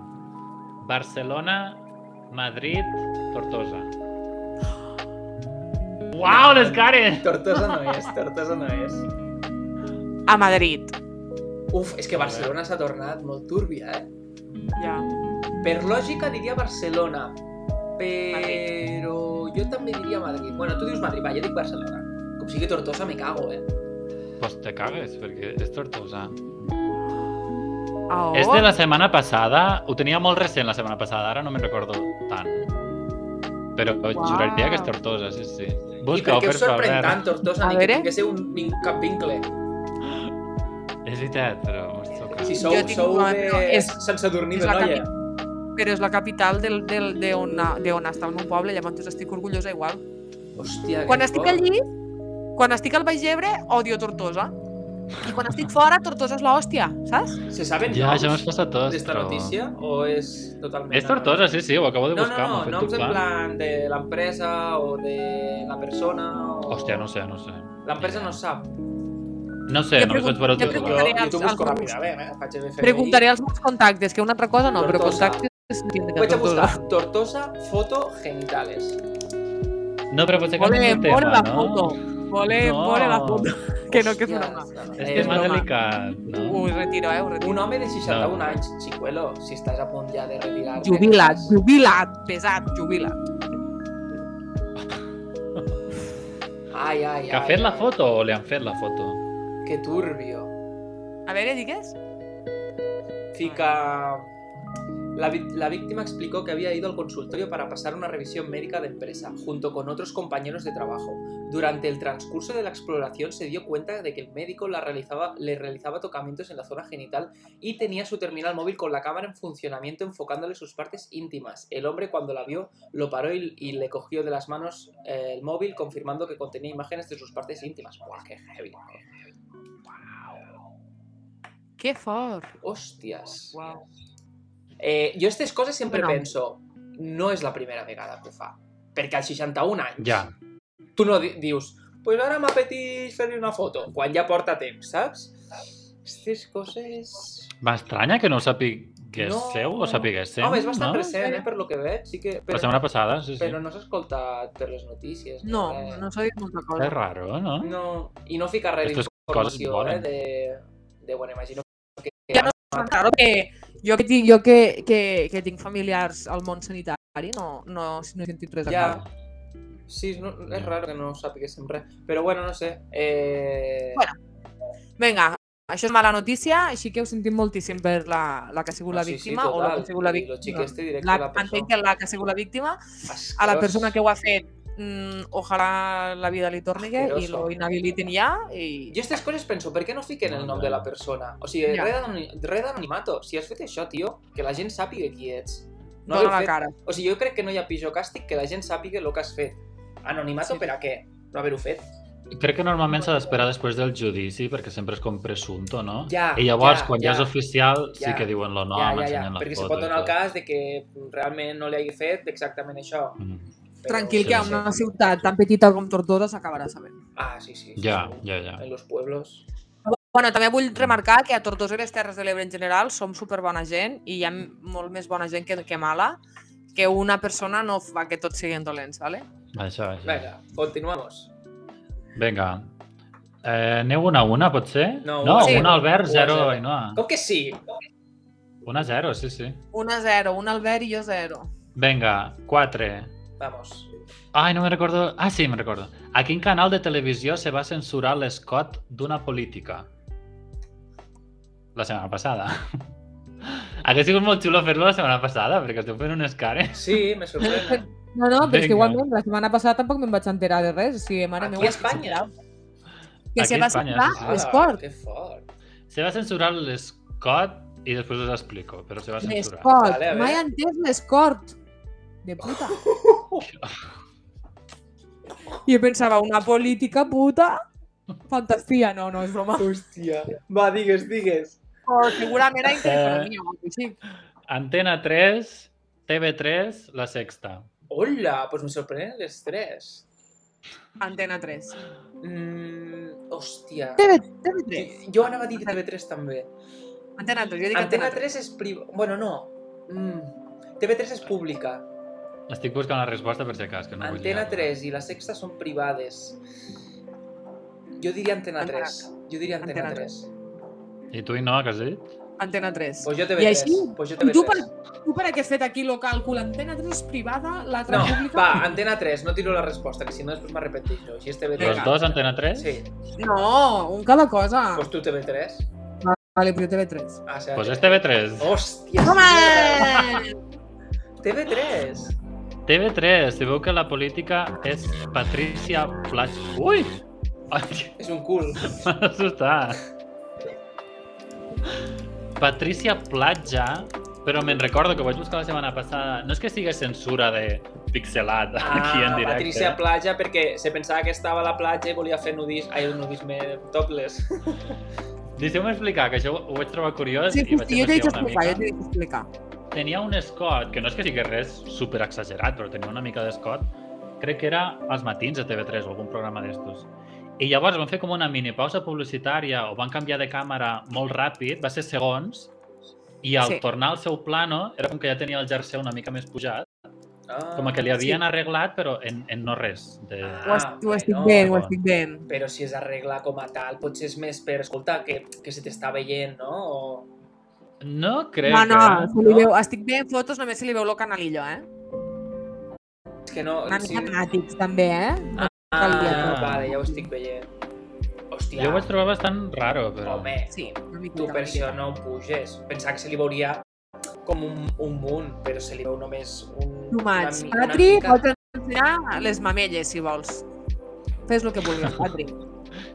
S3: Barcelona, Madrid, Tortosa. Uau, les cares!
S1: Tortosa no és, Tortosa no és.
S2: A Madrid.
S1: Uf, és que Barcelona s'ha tornat molt túrbia, eh?
S2: Ja.
S1: Per lògica diria Barcelona, però jo també diria Madrid. Bueno, tu dius Madrid, va, jo dic Barcelona. Com sigui Tortosa me cago, eh?
S3: Pues te cagues, perquè és Tortosa.
S2: A on?
S3: Oh. És de la setmana passada, ho tenia molt recent la setmana passada, ara no me'n recordo tant. Però juraria que és Tortosa, sí, sí.
S1: I per
S3: Busca-ho,
S1: què us
S3: favor,
S1: sorprèn
S3: Albert.
S1: tant Tortosa
S2: A
S1: ni que
S2: veure.
S1: tinguéssiu un, ni cap vincle?
S3: És veritat, però m'has tocat.
S1: Si sou,
S2: Jo tinc
S1: sou
S2: una,
S1: de...
S2: però és-
S1: Sant Sadurní
S2: és
S1: de
S2: la
S1: Noia.
S2: Però és la capital del- del- d'on d'on està el meu poble, llavors estic orgullosa igual.
S1: Hòstia, que
S2: Quan estic
S1: fort.
S2: allí, quan estic al Baix Ebre, odio Tortosa. I quan estic fora, Tortosa és l'hòstia, saps?
S1: Se saben
S3: Ja,
S1: noms
S3: ja m'has passat tot.
S1: d'esta
S3: però-
S1: notícia o és totalment...
S3: És Tortosa, sí, sí, ho acabo de
S1: No, no,
S3: buscar.
S1: no,
S3: m'ho ha fet
S1: noms en
S3: doblar.
S1: plan de l'empresa o de la persona o...
S3: Hòstia, no sé, no sé.
S1: L'empresa no sap.
S3: No sé,
S2: Jo
S3: només
S2: pregun-
S3: vaig veure
S2: jo
S1: Jo,
S3: Tortosa.
S2: preguntaré
S1: jo t'ho
S2: als-
S1: busco
S2: als
S1: ràpidament, eh? Faig FMI.
S2: Preguntaré als meus contactes, que una altra cosa no, però
S1: Tortosa.
S2: contactes... no tinc de
S1: Vaig a
S2: Tortosa.
S1: buscar Tortosa foto genitales.
S3: No, però potser que no
S2: Vole,
S3: és el tema,
S2: vole la
S3: no?
S2: foto. Vole,
S3: No.
S2: vole la foto. Que no, que és
S1: Hòstia,
S2: broma.
S3: És
S1: eh,
S3: que és
S2: broma.
S3: més delicat, no?
S2: Ho retiro, eh, ho retiro.
S1: Un home de 61
S3: No.
S1: anys, xicuelo, si estàs a punt ja de retirar-te...
S2: Jubila't, jubila't, pesat, jubila't.
S1: Ai, ai, ai.
S3: Que ha fet la
S1: ai.
S3: foto o li han fet la foto?
S1: Que turbio.
S2: A veure, digues?
S1: Fica... La, vi- la víctima explicó que había ido al consultorio para pasar una revisión médica de empresa, junto con otros compañeros de trabajo. Durante el transcurso de la exploración se dio cuenta de que el médico la realizaba, le realizaba tocamientos en la zona genital y tenía su terminal móvil con la cámara en funcionamiento enfocándole sus partes íntimas. El hombre cuando la vio lo paró y, y le cogió de las manos eh, el móvil confirmando que contenía imágenes de sus partes íntimas. ¡Buah, qué heavy!
S2: Que fort.
S1: ¡Hostias!
S2: Uau.
S1: Eh, jo aquestes coses sempre
S2: Bueno.
S1: penso, no és la primera vegada que ho fa. Perquè als 61 anys
S3: Ja.
S1: tu no di dius pues ara m'apeteix fer-li una foto, quan ja porta temps, saps? Aquestes coses...
S3: M'estranya que no ho sapiguéssiu
S1: No.
S3: o sapiguéssiu.
S1: Home, és bastant
S3: no?
S1: present, eh, per lo que veig. Sí que...
S3: La
S1: Però,
S3: setmana passada, sí, sí.
S1: però no s'ha escoltat per les notícies. ni
S2: No,
S1: res.
S2: no s'ha dit molta
S3: És
S2: cosa.
S3: raro, no?
S1: no. I no fica res
S3: Estes
S1: d'informació, eh,
S3: coses volen.
S1: de... de... Bueno, imagino que...
S2: Ja no Claro que jo que, tinc, jo que, que, que tinc familiars al món sanitari no, no, no he sentit res
S1: Ja.
S2: encara.
S1: Sí, no, és raro que no sapiguéssim res. Però bueno, no sé. Eh...
S2: Bueno, Vinga, això és mala notícia, així que ho sentim moltíssim per la, la que ha
S1: Ah,
S2: sigut la víctima o la que ha sigut la víctima.
S1: La,
S2: la,
S1: la
S2: entenc
S1: persona.
S2: que la que ha sigut la víctima, a la persona que ho ha fet, mm, ojalà la vida li torni que i
S1: Asqueroso.
S2: lo inhabiliten ja i...
S1: Jo aquestes coses penso, per què no fiquen el nom de la persona? O sigui,
S2: Ja.
S1: ja. re d'anonimato. Si has fet això, tio, que la gent sàpiga qui ets.
S2: No
S1: haver
S2: Dona la
S1: fet-
S2: cara.
S1: O sigui, jo crec que no hi ha pitjor càstig que la gent sàpiga el que has fet. Anonimato
S2: Sí.
S1: per a què? No haver-ho fet.
S3: Crec que normalment s'ha d'esperar després del judici, perquè sempre és com presunto, no?
S1: Ja,
S3: I llavors,
S1: ja,
S3: quan
S1: ja.
S3: ja, és oficial, sí
S1: Ja.
S3: que diuen el nom,
S1: ja, ja, ja.
S3: ensenyen la
S1: Perquè
S3: foto.
S1: se pot
S3: i
S1: donar el
S3: tot.
S1: cas de que realment no li hagi fet exactament això.
S3: Mm.
S1: Però-
S2: Tranquil,
S3: Sí,
S2: que a
S3: sí.
S2: una ciutat tan petita com Tortosa s'acabarà sabent.
S1: Ah, sí, sí. sí,
S3: Ja,
S1: segur.
S3: ja, ja.
S1: En los pueblos.
S2: Bueno, també vull remarcar que a Tortosa i les Terres de l'Ebre en general som superbona gent i hi ha molt més bona gent que, que mala, que una persona no fa que tots siguin dolents, ¿vale?
S3: Això, això. Vinga.
S1: Venga, continuamos.
S3: Vinga. Eh, aneu una a una, potser?
S1: No,
S3: no
S1: una
S2: a
S3: una
S1: zero.
S3: al Albert,
S1: Una a
S3: zero,
S1: zero.
S3: Ainhoa.
S1: Com que sí?
S3: Una a zero, sí, sí.
S2: Un a zero, un Albert i jo zero.
S3: Vinga, quatre.
S1: Vamos.
S3: Ai, no me recordo... Ah, sí, me recordo. A quin canal de televisió se va censurar l'escot d'una política? La setmana passada. Hauria sigut molt xulo fer-lo la setmana passada, perquè esteu fent unes cares.
S1: Sí, me sorprèn.
S2: No, no, però és que
S3: Vinga.
S2: igualment la setmana passada tampoc me'n vaig enterar de res. O sigui, mare
S1: Aquí
S2: meva,
S1: a Espanya.
S2: Que
S3: Aquí
S2: se
S3: a
S2: va
S3: Espanya,
S2: centrar
S3: sí,
S1: Ala,
S2: l'esport.
S1: Que fort.
S3: Se va censurar l'escot i després us explico, però se va censurar.
S2: L'escort.
S1: Vale, a veure.
S2: Mai he entès l'escort. De puta. Jo pensava, una política puta. Fantastia, no, no, és broma.
S1: Hòstia. Va, digues, digues.
S2: Però segurament era intereconomia o alguna cosa així.
S3: Antena 3, TV3, la sexta.
S1: Hola, doncs me sorprenen les tres.
S2: Antena 3.
S1: Mm, hòstia.
S2: TV, TV3.
S1: Jo anava a dir TV3 també.
S2: Antena 3, jo dic
S1: Antena 3 és priva... Bueno, no. Mm. TV3 és pública.
S3: Estic buscant la resposta per si de cas, que no vull
S1: Antena
S3: liar-la.
S1: 3 i la sexta són privades. Jo diria Antena
S2: Antena
S1: 3. Jo diria Antena
S2: Antena
S1: 3.
S3: I tu i no, que has dit?
S2: Antena 3.
S1: Pues jo
S2: I
S1: TV3.
S2: així,
S1: pues jo
S2: com tu
S1: TV3.
S2: Tu per què has fet aquí el càlcul? Antena 3 és privada, l'altra
S1: No,
S2: pública?
S1: va, Antena 3, no tiro la resposta, que si no després m'arrepenteix jo. Així és TV3.
S3: Los dos, Antena 3?
S1: Sí,
S2: No, un cada cosa.
S1: doncs tu TV3.
S2: Vale, però TV3.
S1: Ah, sí,
S3: Doncs pues és TV3.
S1: Hòstia,
S2: Home!
S1: TV3.
S3: TV3, si veu que la política és Patricia Platja... Ui! Ai,
S1: És un cul.
S3: m'ha assustat. Patricia Platja, Però me'n recordo que ho vaig buscar la setmana passada. No és que sigui censura de pixelat aquí en directe.
S1: Ah,
S3: eh?
S1: Patricia Platja perquè se pensava que estava a la platja i volia fer nudis, ai, un nudisme topless.
S3: Deixeu-me explicar, que això ho ho vaig trobar curiós
S2: Sí, sí,
S3: i vaig
S2: sí, jo t'he dit
S3: investigar una
S2: explicar, jo
S3: mica.
S2: t'he dit explicar.
S3: Tenia un escot, que no és que sigui res super exagerat, però tenia una mica d'escot. Crec que era als matins a TV3 o algun programa d'estos. I llavors van fer com una mini pausa publicitària o van canviar de càmera molt ràpid, va ser segons, i al
S2: Sí.
S3: tornar al seu plano era com que ja tenia el jersey una mica més pujat,
S1: Ah,
S3: com que li havien arreglat, però en, en no res. De...
S2: Ho, est ho estic
S1: bueno.
S2: veient, ho estic veient.
S1: Però si és arreglar com a tal, potser és més per escoltar que, que se t'està veient, no? O...
S3: No crec eh?
S2: No, no,
S3: que...
S2: se li
S1: no?
S2: veu, estic veient fotos, només se li veu lo canalillo, eh?
S1: És que no...
S2: Una mica nàtics, també, eh? No
S1: Ah,
S2: calia.
S1: vale, ja ho estic veient. Hòstia,
S3: Jo ho vaig trobar bastant raro, però...
S1: home,
S2: Sí, una mica.
S1: tu per això no puges. Pensava que se li veuria com un, un munt, però se li veu només un...
S2: Tomats.
S1: mi-
S2: Patri,
S1: mica-
S2: pots ensenyar les mamelles, si vols. Fes el que vulguis, Patri.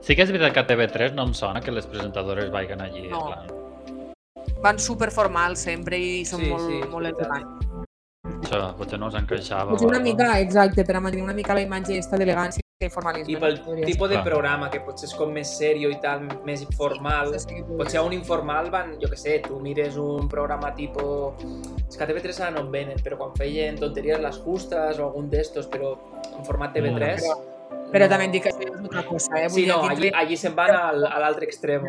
S3: Sí que és veritat que a TV3 no em sona que les presentadores vagin allí.
S2: No.
S3: en plan,
S2: Van superformals sempre i són
S1: Sí,
S2: molt,
S1: sí, és
S2: molt
S1: veritat.
S2: elegants.
S3: Això, potser no us encaixava.
S2: Potser
S3: o
S2: una
S3: algo.
S2: mica, exacte, per a mantenir una mica la imatge aquesta d'elegància i formalisme.
S1: I pel
S2: podria ser.
S1: tipus de
S3: Clar.
S1: programa, que potser és com més serio i tal, més informal,
S2: Això sí que podria
S1: potser a un informal van, jo que sé, tu mires un programa tipo... És que a TV3 ara no en venen, però quan feien tonteries les justes o algun d'estos, però en format TV3...
S2: Però-
S1: no.
S2: Però també et dic que això és una altra cosa, eh?
S1: Sí,
S2: dir,
S1: no,
S2: aquí
S1: allí,
S2: entra-
S1: allí se'n van al, a l'altre extremo.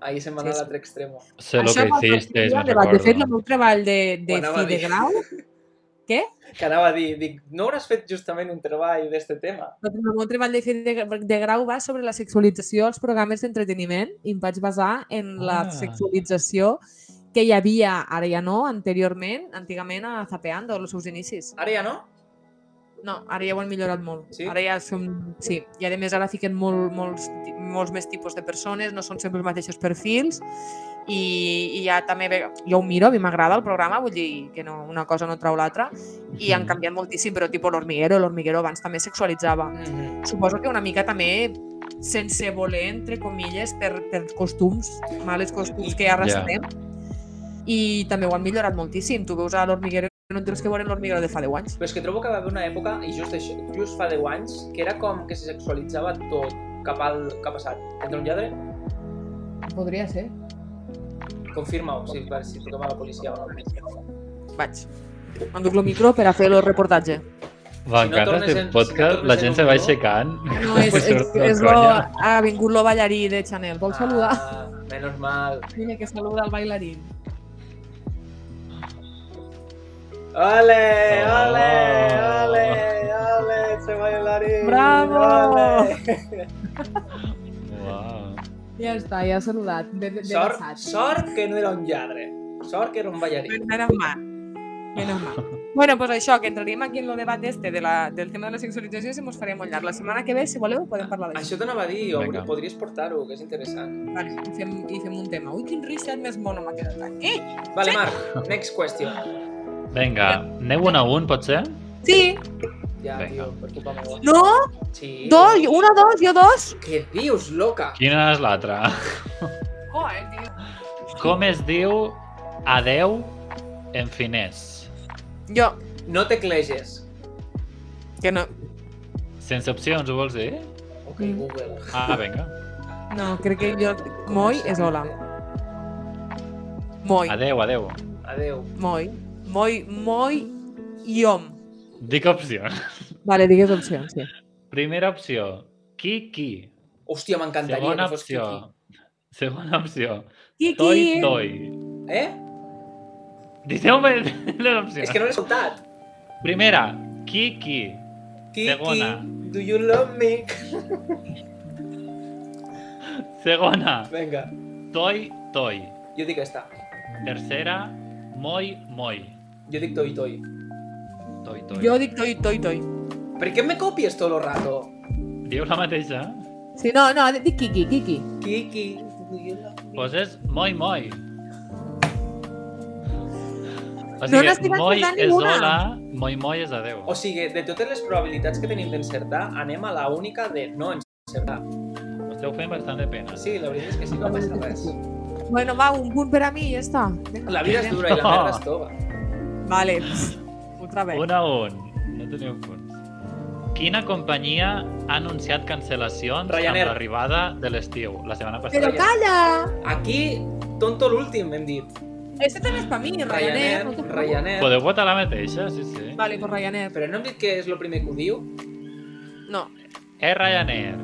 S1: Allí se'n van
S2: Sí,
S1: a
S2: sí.
S1: l'altre extremo.
S3: Sé lo que
S2: va ser
S3: hiciste,
S2: un debat.
S3: me
S2: De fet,
S3: recordo.
S2: el meu treball de, de
S1: Ho anava
S2: fi
S1: a
S2: de
S1: dir.
S2: grau,
S1: Que anava a dir, dic, no hauràs fet justament un treball d'este tema?
S2: el meu treball de fi de, de grau va sobre la sexualització als programes d'entreteniment i em vaig basar en la
S3: Ah.
S2: sexualització que hi havia, ara ja no, anteriorment, antigament a Zapeando, els seus inicis.
S1: Ara ja no?
S2: No, ara ja ho han millorat molt.
S1: Sí?
S2: Ara ja som... Sí, i a més ara fiquen molt, molts, ti- molts més tipus de persones, no són sempre els mateixos perfils, i, i ja també ve... jo ho miro, a mi m'agrada el programa, vull dir que no, una cosa no trau l'altra, i han
S3: Mhm.
S2: canviat moltíssim, però tipus l'Hormiguero, l'Hormiguero abans també sexualitzava.
S1: Mm -hmm.
S2: Suposo que una mica també sense voler, entre comilles, per, per costums, males costums que arrastrem. I també ho han millorat moltíssim. Tu veus a l'Hormiguero, no tens que veure l'Hormiguero de fa 10 anys.
S1: Però és que trobo que va haver una època, i just, això, just fa 10 anys, que era com que se sexualitzava tot cap al cap passat. Entra un lladre?
S2: Podria ser.
S1: Confirma-ho, si, per- si truquem a la policia o no.
S2: Vaig. M'enduc el micro per a fer el reportatge.
S3: M'encanta
S1: tornes
S3: aquest
S1: en- si no
S3: podcast,
S1: tornes
S3: la
S1: en
S3: gent
S1: un
S3: se va
S1: minut.
S3: aixecant.
S2: No, és, és, és,
S3: Surt
S2: lo,
S3: conya.
S2: ha vingut lo ballarí de Chanel. Vol saludar?
S1: Ah, menos mal.
S2: Mira que saluda el ballarí.
S1: Ole,
S3: Oh.
S1: ole, ole, ole, se bailarín.
S2: Bravo.
S1: Ole.
S3: Uau.
S2: Ja està, ja ha saludat. Ben, ben
S1: Sort, sort que no era un lladre. Sort que era un ballarí.
S2: Menos mal. Menos mal. Bueno, pues això, que entraríem aquí en el debat este de la, del tema de la sexualització i se mos faria molt llarg. La setmana que ve, si voleu, podem parlar d'això.
S1: Això t'anava a dir, o
S3: Vinga.
S1: podries portar-ho, que és interessant.
S2: Vale, i fem, I fem un tema. Ui, quin reset més mono m'ha quedat aquí.
S1: Vale, Marc, next question.
S3: Vinga, aneu un a un, potser?
S2: Sí,
S1: Ja,
S3: Vinga.
S1: tio, per culpa meva.
S2: no,
S1: Sí.
S2: dos, una, dos, jo dos.
S1: Què dius, loca?
S3: Quina és l'altra?
S2: Oh, eh, tio.
S3: Com es diu adeu en finès?
S2: Jo,
S1: No tecleges.
S2: que no,
S3: Sense opcions, ho vols dir?
S1: Ok,
S2: Mm.
S1: Google.
S3: Ah, vinga.
S2: No, crec que jo...
S1: Com
S2: Moi
S1: se
S2: és
S1: diu?
S2: hola. Moi,
S3: Adeu, adeu.
S1: Adeu.
S2: moi. Moi, moi i om.
S3: Dic opcions.
S2: Vale, digues opcions, sí.
S3: Primera opció, Kiki.
S1: Hòstia, m'encantaria
S3: Segona
S1: que fos
S3: opció, segona opció,
S2: Kiki!
S3: toi, toi.
S1: Kiki. Eh?
S3: Deixeu-me les opcions.
S1: És que no l'he escoltat.
S3: Primera, Kiki.
S1: Kiki,
S3: Segona.
S1: do you love me?
S3: Segona,
S1: Vinga,
S3: Toi Toi.
S1: jo dic esta.
S3: Tercera, Moi Moi.
S1: Jo dic toi toi.
S3: Toi Toi.
S2: Jo dic toi, toi, toi.
S1: Per què me copies tot el rato?
S3: Diu la mateixa. eh?
S2: Sí, no, no, dic Kiki, Kiki.
S1: Kiki, do you love me?
S3: Poses Moi Moi. O
S2: No n'estic
S3: moi
S2: encertant
S3: és
S2: ninguna.
S3: hola, moi moi és adeu.
S1: O sigui, de totes les probabilitats que tenim d'encertar, anem a la única de no encertar.
S3: Ho esteu fent bastant de pena.
S1: Sí, la veritat és que sí, no passa res.
S2: Bueno, va, un punt per a mi, ja està. Vinga.
S1: La vida és dura i la merda és tova.
S2: Vale, pues, otra vez.
S3: Un a un. No teniu punts. Quina companyia ha anunciat cancel·lacions
S1: Ryanair.
S3: amb l'arribada de l'estiu, la setmana passada?
S2: Però calla!
S1: Aquí, tonto l'últim, hem dit.
S2: Este també és per mi, Ryanair.
S1: Ryanair,
S2: no te preocupes.
S1: Ryanair.
S3: Podeu votar la mateixa? Sí, sí.
S2: Vale, pues Ryanair.
S1: Però no hem dit que és el primer que ho diu?
S2: No.
S3: És Ryanair.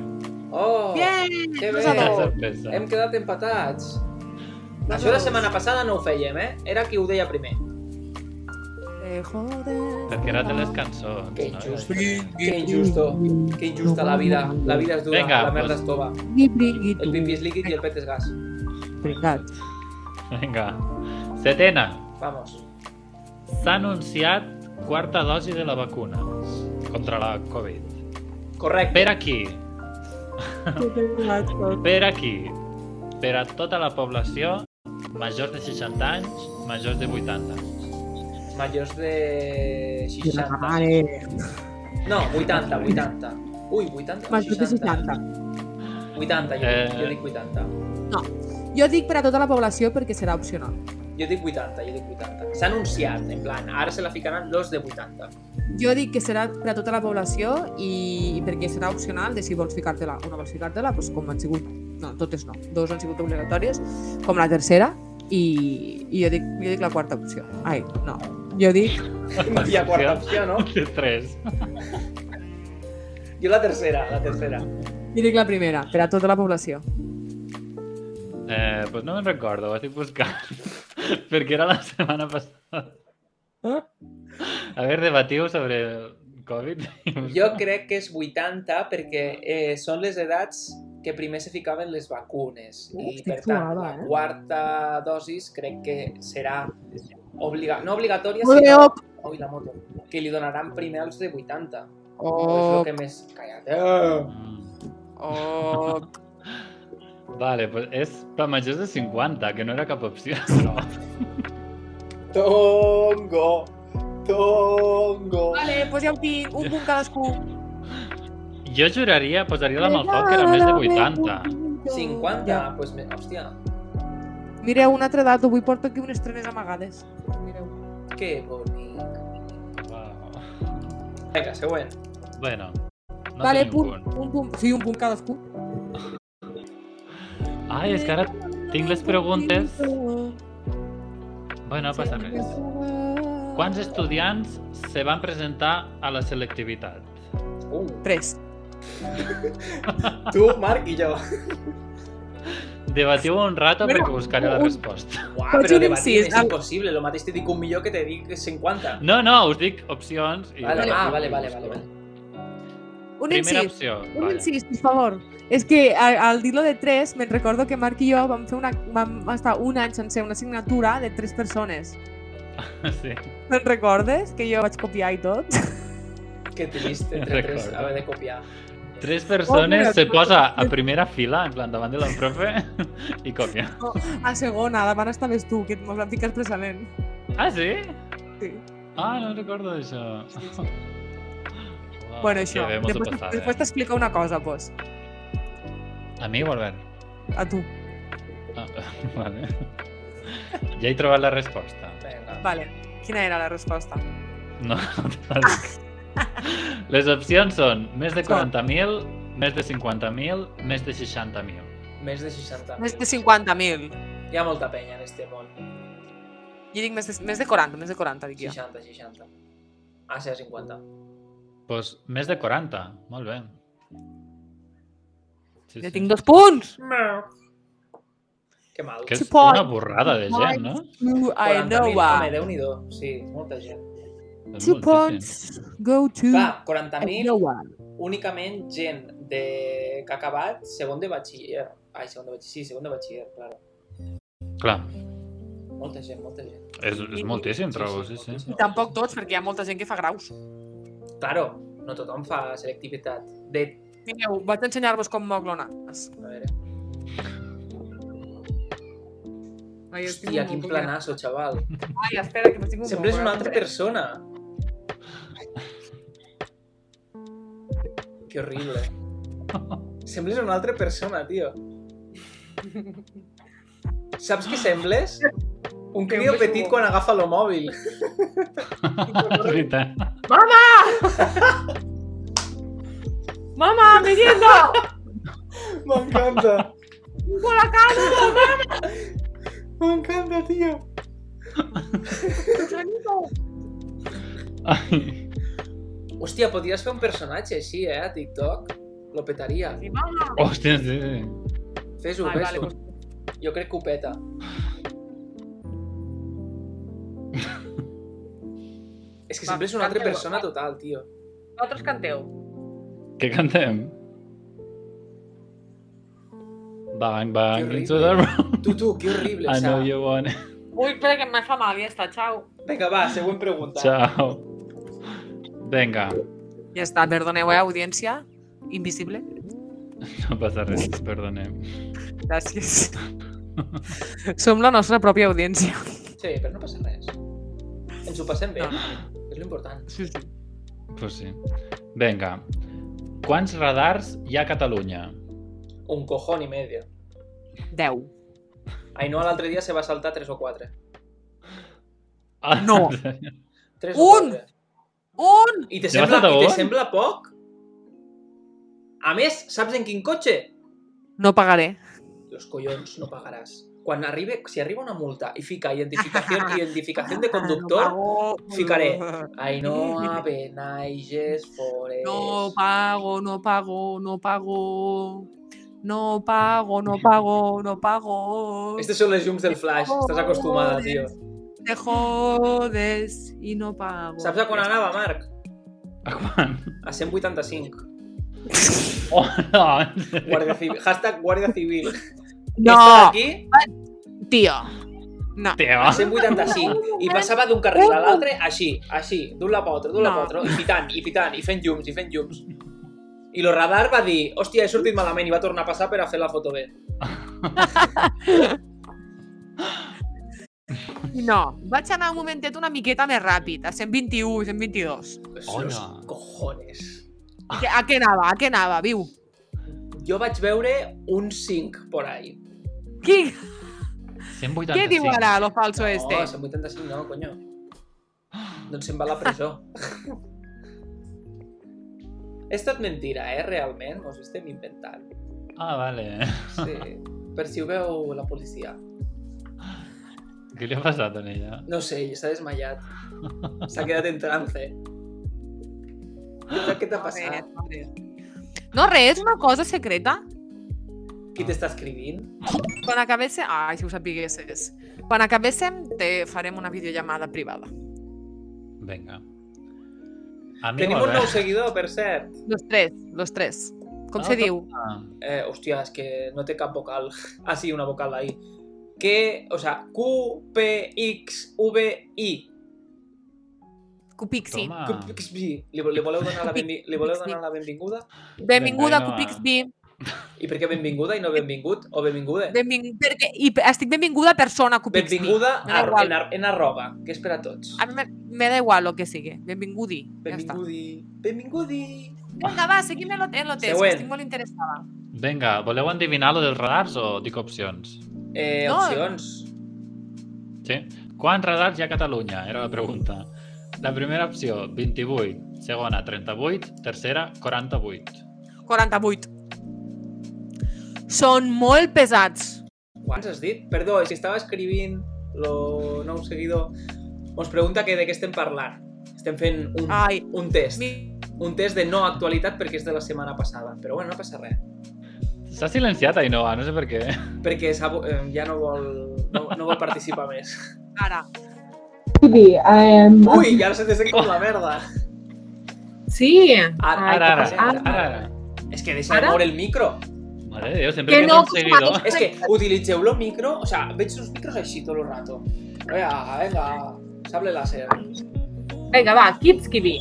S1: Oh,
S2: Bien!
S1: que
S2: dos a
S3: Quina
S2: dos.
S1: bé.
S3: sorpresa.
S1: Hem quedat empatats.
S2: Dos a
S1: Això la
S2: dos.
S1: setmana passada no ho fèiem, eh? Era qui ho deia primer.
S2: Eh, joder.
S3: Perquè era de les cançons,
S1: Que
S3: no?
S1: injusto. Que injusto. Que injusta la vida. La vida és dura,
S3: Vinga,
S1: la merda
S3: pues-
S1: és tova. El pipi és líquid i el pet és gas.
S2: Pringat.
S3: Vinga. Setena.
S1: Vamos.
S3: S'ha anunciat quarta dosi de la vacuna contra la Covid.
S1: Correcte.
S3: Per aquí, per aquí, per a tota la població majors de 60 anys, majors de 80 anys.
S1: Majors de 60.
S2: Vale.
S1: No, 80, 80. Ui, 80 o
S2: Major de
S1: 60?
S2: 60.
S1: 80, jo, dic,
S3: Eh.
S1: jo dic 80.
S2: Jo dic per a tota la població perquè serà opcional.
S1: Jo dic 80, jo dic 80. S'ha anunciat, en plan, ara se la ficaran dos de 80.
S2: Jo dic que serà per a tota la població i i perquè serà opcional de si vols ficar-te-la o no vols ficar-te-la, doncs com han sigut... No, totes no. Dos han sigut obligatòries, com la tercera, i, i jo, dic, jo dic la quarta opció. Ai, no. Jo dic...
S1: No hi ha quarta opció, no?
S3: De 3.
S1: Jo la tercera, la tercera.
S2: Jo dic la primera, per a tota la població.
S3: Eh, pues no me'n recordo, ho estic buscant. Perquè era la setmana passada. A veure, debatiu sobre el Covid.
S1: Jo crec que és 80 perquè eh, són les edats que primer se ficaven les vacunes.
S2: Uh,
S1: I,
S2: estic
S1: per tant,
S2: suada,
S1: la
S2: eh?
S1: quarta dosis crec que serà obliga... no obligatòria,
S2: Molt bé,
S1: sinó...
S2: op!
S1: Ui, la moto. Que li donaran primer als de 80. És el
S2: Op,
S1: que més... Calla't. eh?
S3: Mm.
S2: op.
S3: Vale, pues és per majors de 50, que no era cap opció. No.
S1: Tongo! Tongo!
S2: Vale, doncs ja ho tinc, un punt cadascú.
S3: Jo juraria, posaria la mà al foc, que era més de 80.
S1: 50,
S2: Ja.
S1: ja. pues, me- hòstia,
S2: Mireu, un altre dato, avui porto aquí unes trenes amagades. Mireu.
S1: que bonic.
S3: Wow.
S1: Vinga, següent.
S3: Bueno, no
S2: vale,
S3: tenim
S2: punt, un punt. Sí, un punt cadascú.
S3: Ai, és que ara... tinc les preguntes.
S2: Eh,
S3: Bueno, no passa res. Quants estudiants se van presentar a la selectivitat?
S1: Uh,
S2: Tres.
S1: tu, Marc i jo.
S3: Debatiu un rato
S2: Bueno,
S3: perquè buscaré la
S2: un-
S3: resposta.
S1: Uah,
S2: Pots
S1: però
S2: dir-me
S1: debatir
S2: sis,
S1: és
S2: al-
S1: impossible. Lo mateix te dic un millor que te dic 50.
S3: No, no, us dic opcions. I
S1: Vale,
S3: debatiu
S1: ah,
S3: i
S1: vale, vale,
S3: busco.
S1: vale, vale.
S2: Un
S3: Primera
S2: incís.
S3: opció.
S2: Un
S3: Vale.
S2: incís, per favor. És que a- al dir-lo de tres, me'n recordo que Marc i jo vam, fer una, vam estar un any sense una assignatura de tres persones.
S3: Sí.
S2: Te'n recordes? Que jo vaig copiar i tot.
S1: Que trist, entre tres,
S3: Recordo.
S1: haver de copiar.
S3: Tres persones se
S2: no.
S3: posa a primera fila, en plan, davant de la profe, i copia.
S2: A segona, davant estaves tu, que mos van ficar expressament.
S3: Ah, sí?
S2: Sí.
S3: Ah, no recordo això. Uau,
S2: bueno,
S3: Ah, Que
S2: això.
S3: bé, m'ho he
S2: Després,
S3: passat,
S2: després
S3: eh?
S2: t'explico una cosa, pues.
S3: A mi o al Bern?
S2: A tu.
S3: Ah, vale. Ja he trobat la resposta.
S1: Vinga.
S2: Vale. Quina era la resposta?
S3: No, no te la dic. Les opcions són més de 40.000, més de 50.000, més de 60.000.
S1: Més de 60.
S2: Més de 50.000.
S1: Hi ha molta penya en este món.
S2: Jo dic més de, més de 40, més de 40, dic jo.
S1: 60, 60. Ah, serà 50.
S3: Doncs pues, més de 40, molt bé. Sí,
S2: Jo tinc dos punts!
S1: Que mal.
S3: Que és
S2: Two points.
S3: una borrada de gent, no?
S2: Two, I
S1: 40.000,
S2: know
S1: Home,
S2: what.
S1: Déu-n'hi-do. Sí, molta gent.
S3: És
S2: Two
S3: moltíssim.
S2: points go to
S1: Clar,
S2: I
S1: 40.000
S2: know what.
S1: únicament gent de... que ha acabat segon de batxiller. Ai, segon de batxiller, sí, segon de batxiller, claro.
S3: Clar,
S1: Molta gent, molta gent.
S3: és, és moltíssim, trobo, sí, sí.
S2: I tampoc tots, perquè hi ha molta gent que fa graus.
S1: Claro, no tothom fa selectivitat. De...
S2: Mireu, vaig ensenyar-vos com moc l'onàs.
S1: A veure... Hòstia, quin planazo, xaval.
S2: Ai, espera, que m'estic un
S1: Sembles
S2: moco,
S1: una
S2: eh?
S1: altra persona. Que horrible. Sembles una altra persona, tio. Saps què sembles?
S5: Que un
S1: Un criu
S5: beso
S1: petit
S5: bo.
S1: quan agafa el mòbil.
S3: És veritat.
S2: ¡Mamá, merienda!
S1: M'encanta.
S2: ¡Por la casa!
S1: M'encanta, tio.
S3: Ai.
S1: Hòstia, podries fer un personatge així, eh, a TikTok? Lo petaria.
S2: ¡Mi mamá!
S3: Hòstia, sí, sí.
S1: Fes-ho,
S2: Ai, vale,
S1: fes-ho.
S2: pues,
S1: Jo crec que ho peta. És que
S2: Va,
S1: sempre és una altra
S2: canteu,
S1: persona
S2: va.
S1: total, tio.
S2: vosaltres canteu.
S3: Què cantem? Bang, bang,
S1: Que
S3: into the room.
S1: Tu, tu, que horrible,
S3: I know
S1: Sa.
S3: you want it.
S2: Uy, espera que me fa mal, ya está, chao.
S1: Vinga, va, següent pregunta.
S3: Ciao. Vinga,
S2: Ya está, perdoneu, eh, audiencia. Invisible.
S3: no passa res, perdonem.
S2: Gràcies. Som la nostra pròpia audiència.
S1: Sí, però no passa res. Ens ho passem bé.
S2: No.
S1: És l'important.
S2: Sí, sí.
S3: Pues sí. Vinga, quants radars hi ha a Catalunya?
S1: Un cojón i medio.
S2: Deu.
S1: Ainhoa l'altre dia se va saltar 3 o 4.
S3: Ah,
S2: No.
S1: 3
S2: Un!
S1: o 4.
S2: Un!
S1: I te,
S3: Ja vas
S1: sembla,
S3: saltar
S1: i te
S3: un?
S1: sembla poc? A més, saps en quin cotxe?
S2: No pagaré.
S1: Los collons no pagaràs. Quan arribe, si arriba una multa i fica identificació, identificació de conductor,
S2: Ah, No pago.
S1: ficaré. Ainhoa, Benaiges, Forest...
S2: No pago, no pago, no pago. No pago, no pago, no pago.
S1: Estes són les llums del flash, estàs acostumada, tio.
S2: Te jodes y no pago.
S1: Saps a quan anava, Marc?
S3: A quan?
S1: A 185.
S3: Oh, no.
S1: Guàrdia Civil. Hashtag Guàrdia Civil. Estàs
S2: No,
S1: aquí
S2: tío. No.
S1: a
S3: Teva.
S1: 185 i passava d'un carril a l'altre així, així, d'un la potra, d'un la
S2: No.
S1: potra, i pitant, i pitant, i fent llums, i fent llums. I lo radar va dir, hòstia, he sortit malament, i va tornar a passar per a fer la foto bé.
S2: No, vaig anar un momentet una miqueta més ràpid, a 121, 122.
S3: Hola.
S1: Los cojones.
S2: I que- A què anava? A què anava? Viu.
S1: Jo vaig veure un 5 por ahí.
S2: Qui,
S3: 185.
S2: què diu ara lo falso
S1: No,
S2: este?
S1: 185 no, coño. Doncs se'n va a la presó. És tot mentira, eh, realment. Us ho estem inventant.
S3: Ah, vale.
S1: Sí. Per si ho veu la policia.
S3: Què li ha passat a ella?
S1: No sé, s'ha desmaiat. S'ha quedat en trance. Què- Què t'ha passat?
S2: No, res, no res, una cosa secreta.
S1: Qui t'està escrivint?
S2: Quan acabéssim... Ai, si ho sapiguessis. Quan acabéssim, te farem una videollamada privada.
S3: Vinga. A mi
S1: Tenim
S3: molt
S1: un
S3: bé.
S1: nou seguidor, per cert.
S2: Los tres, los tres. Com
S3: Ah,
S2: se
S3: tot-
S2: diu?
S3: Ah,
S1: Eh, hòstia, és que no té cap vocal. Ah, sí, una vocal ahí. Que, o sea, Q, P, X, V, I.
S2: Cupixi.
S3: Toma.
S1: Q, P, X, V. Li, li voleu donar la, benvi... li voleu donar la benvinguda?
S2: Benvinguda,
S3: Vinga,
S2: Cupixi.
S1: I per què benvinguda i no benvingut? O benvingude?
S2: Benving... Perquè... I estic benvinguda persona, Cupixi.
S1: Benvinguda
S2: Me da
S1: a,
S2: igual.
S1: en, ar- en arroba, que és per a tots.
S2: A mi me, me da igual lo que sigue. Benvingudi. Ja està.
S1: Benvingudi. Benvingudi.
S2: Vinga, va, seguim en lo, en lo test, que
S1: Següent.
S2: estic molt interessada.
S3: Vinga, voleu endevinar lo dels radars o dic opcions?
S1: Eh,
S2: No.
S1: opcions.
S3: Sí. Quants radars hi ha a Catalunya? Era la pregunta. La primera opció, 28. Segona, 38. Tercera, 48.
S2: 48. Són molt pesats.
S1: Quants has dit? Perdó, si estava escrivint lo nou seguidor, us pregunta que de què estem parlant. Estem fent un,
S5: Ah.
S2: Ai.
S1: un test.
S2: Mi...
S1: Un test de no actualitat perquè és de la setmana passada. Però bueno, no passa res.
S3: S'ha silenciat Ainhoa, no sé per què.
S1: Perquè s'ha vo- eh, ja no vol, no, no vol participar més.
S2: Ara.
S6: Maybe. Um,
S1: Ui, ja se te sent com la merda.
S5: Sí.
S1: Ara,
S5: Ai,
S3: Ara, ara,
S5: que-
S3: ara, ara.
S1: És que deixa de
S5: Ara?
S1: moure el micro.
S3: Mare de Déu, sempre
S5: Que
S3: que, que
S5: no,
S3: un seguidor...
S1: És que utilitzeu-lo micro, o sea, veig els micros així tot el rato. Vinga, vinga, sable láser.
S5: Vinga, va, Kids Kibi.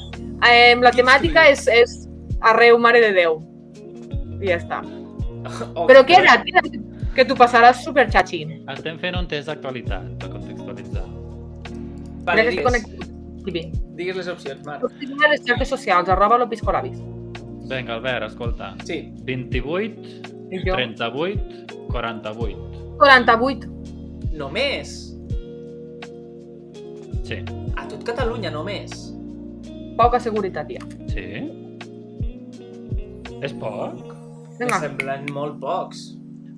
S5: Eh, la
S1: Kids
S5: temàtica
S1: Kiwi.
S5: és, és arreu, mare de Déu. I ja està.
S1: Oh,
S5: Però què era? Tira, que t'ho passaràs superxatxi.
S3: Estem fent un test d'actualitat, per contextualitzar.
S1: Vale,
S5: Gràcies,
S1: digues,
S5: Connect Kiwi.
S1: digues les opcions, Marc.
S5: Seguim a les xarxes socials, arroba lopiscolabis.
S3: Vinga, Albert, escolta.
S1: Sí,
S3: 28,
S5: I jo,
S3: 38, 48.
S5: 48.
S1: Només.
S3: Sí.
S1: A tot Catalunya, només.
S5: Poca seguretat, tia.
S3: Sí? És poc?
S1: Vinga.
S5: Vinga,
S1: Semblen molt pocs.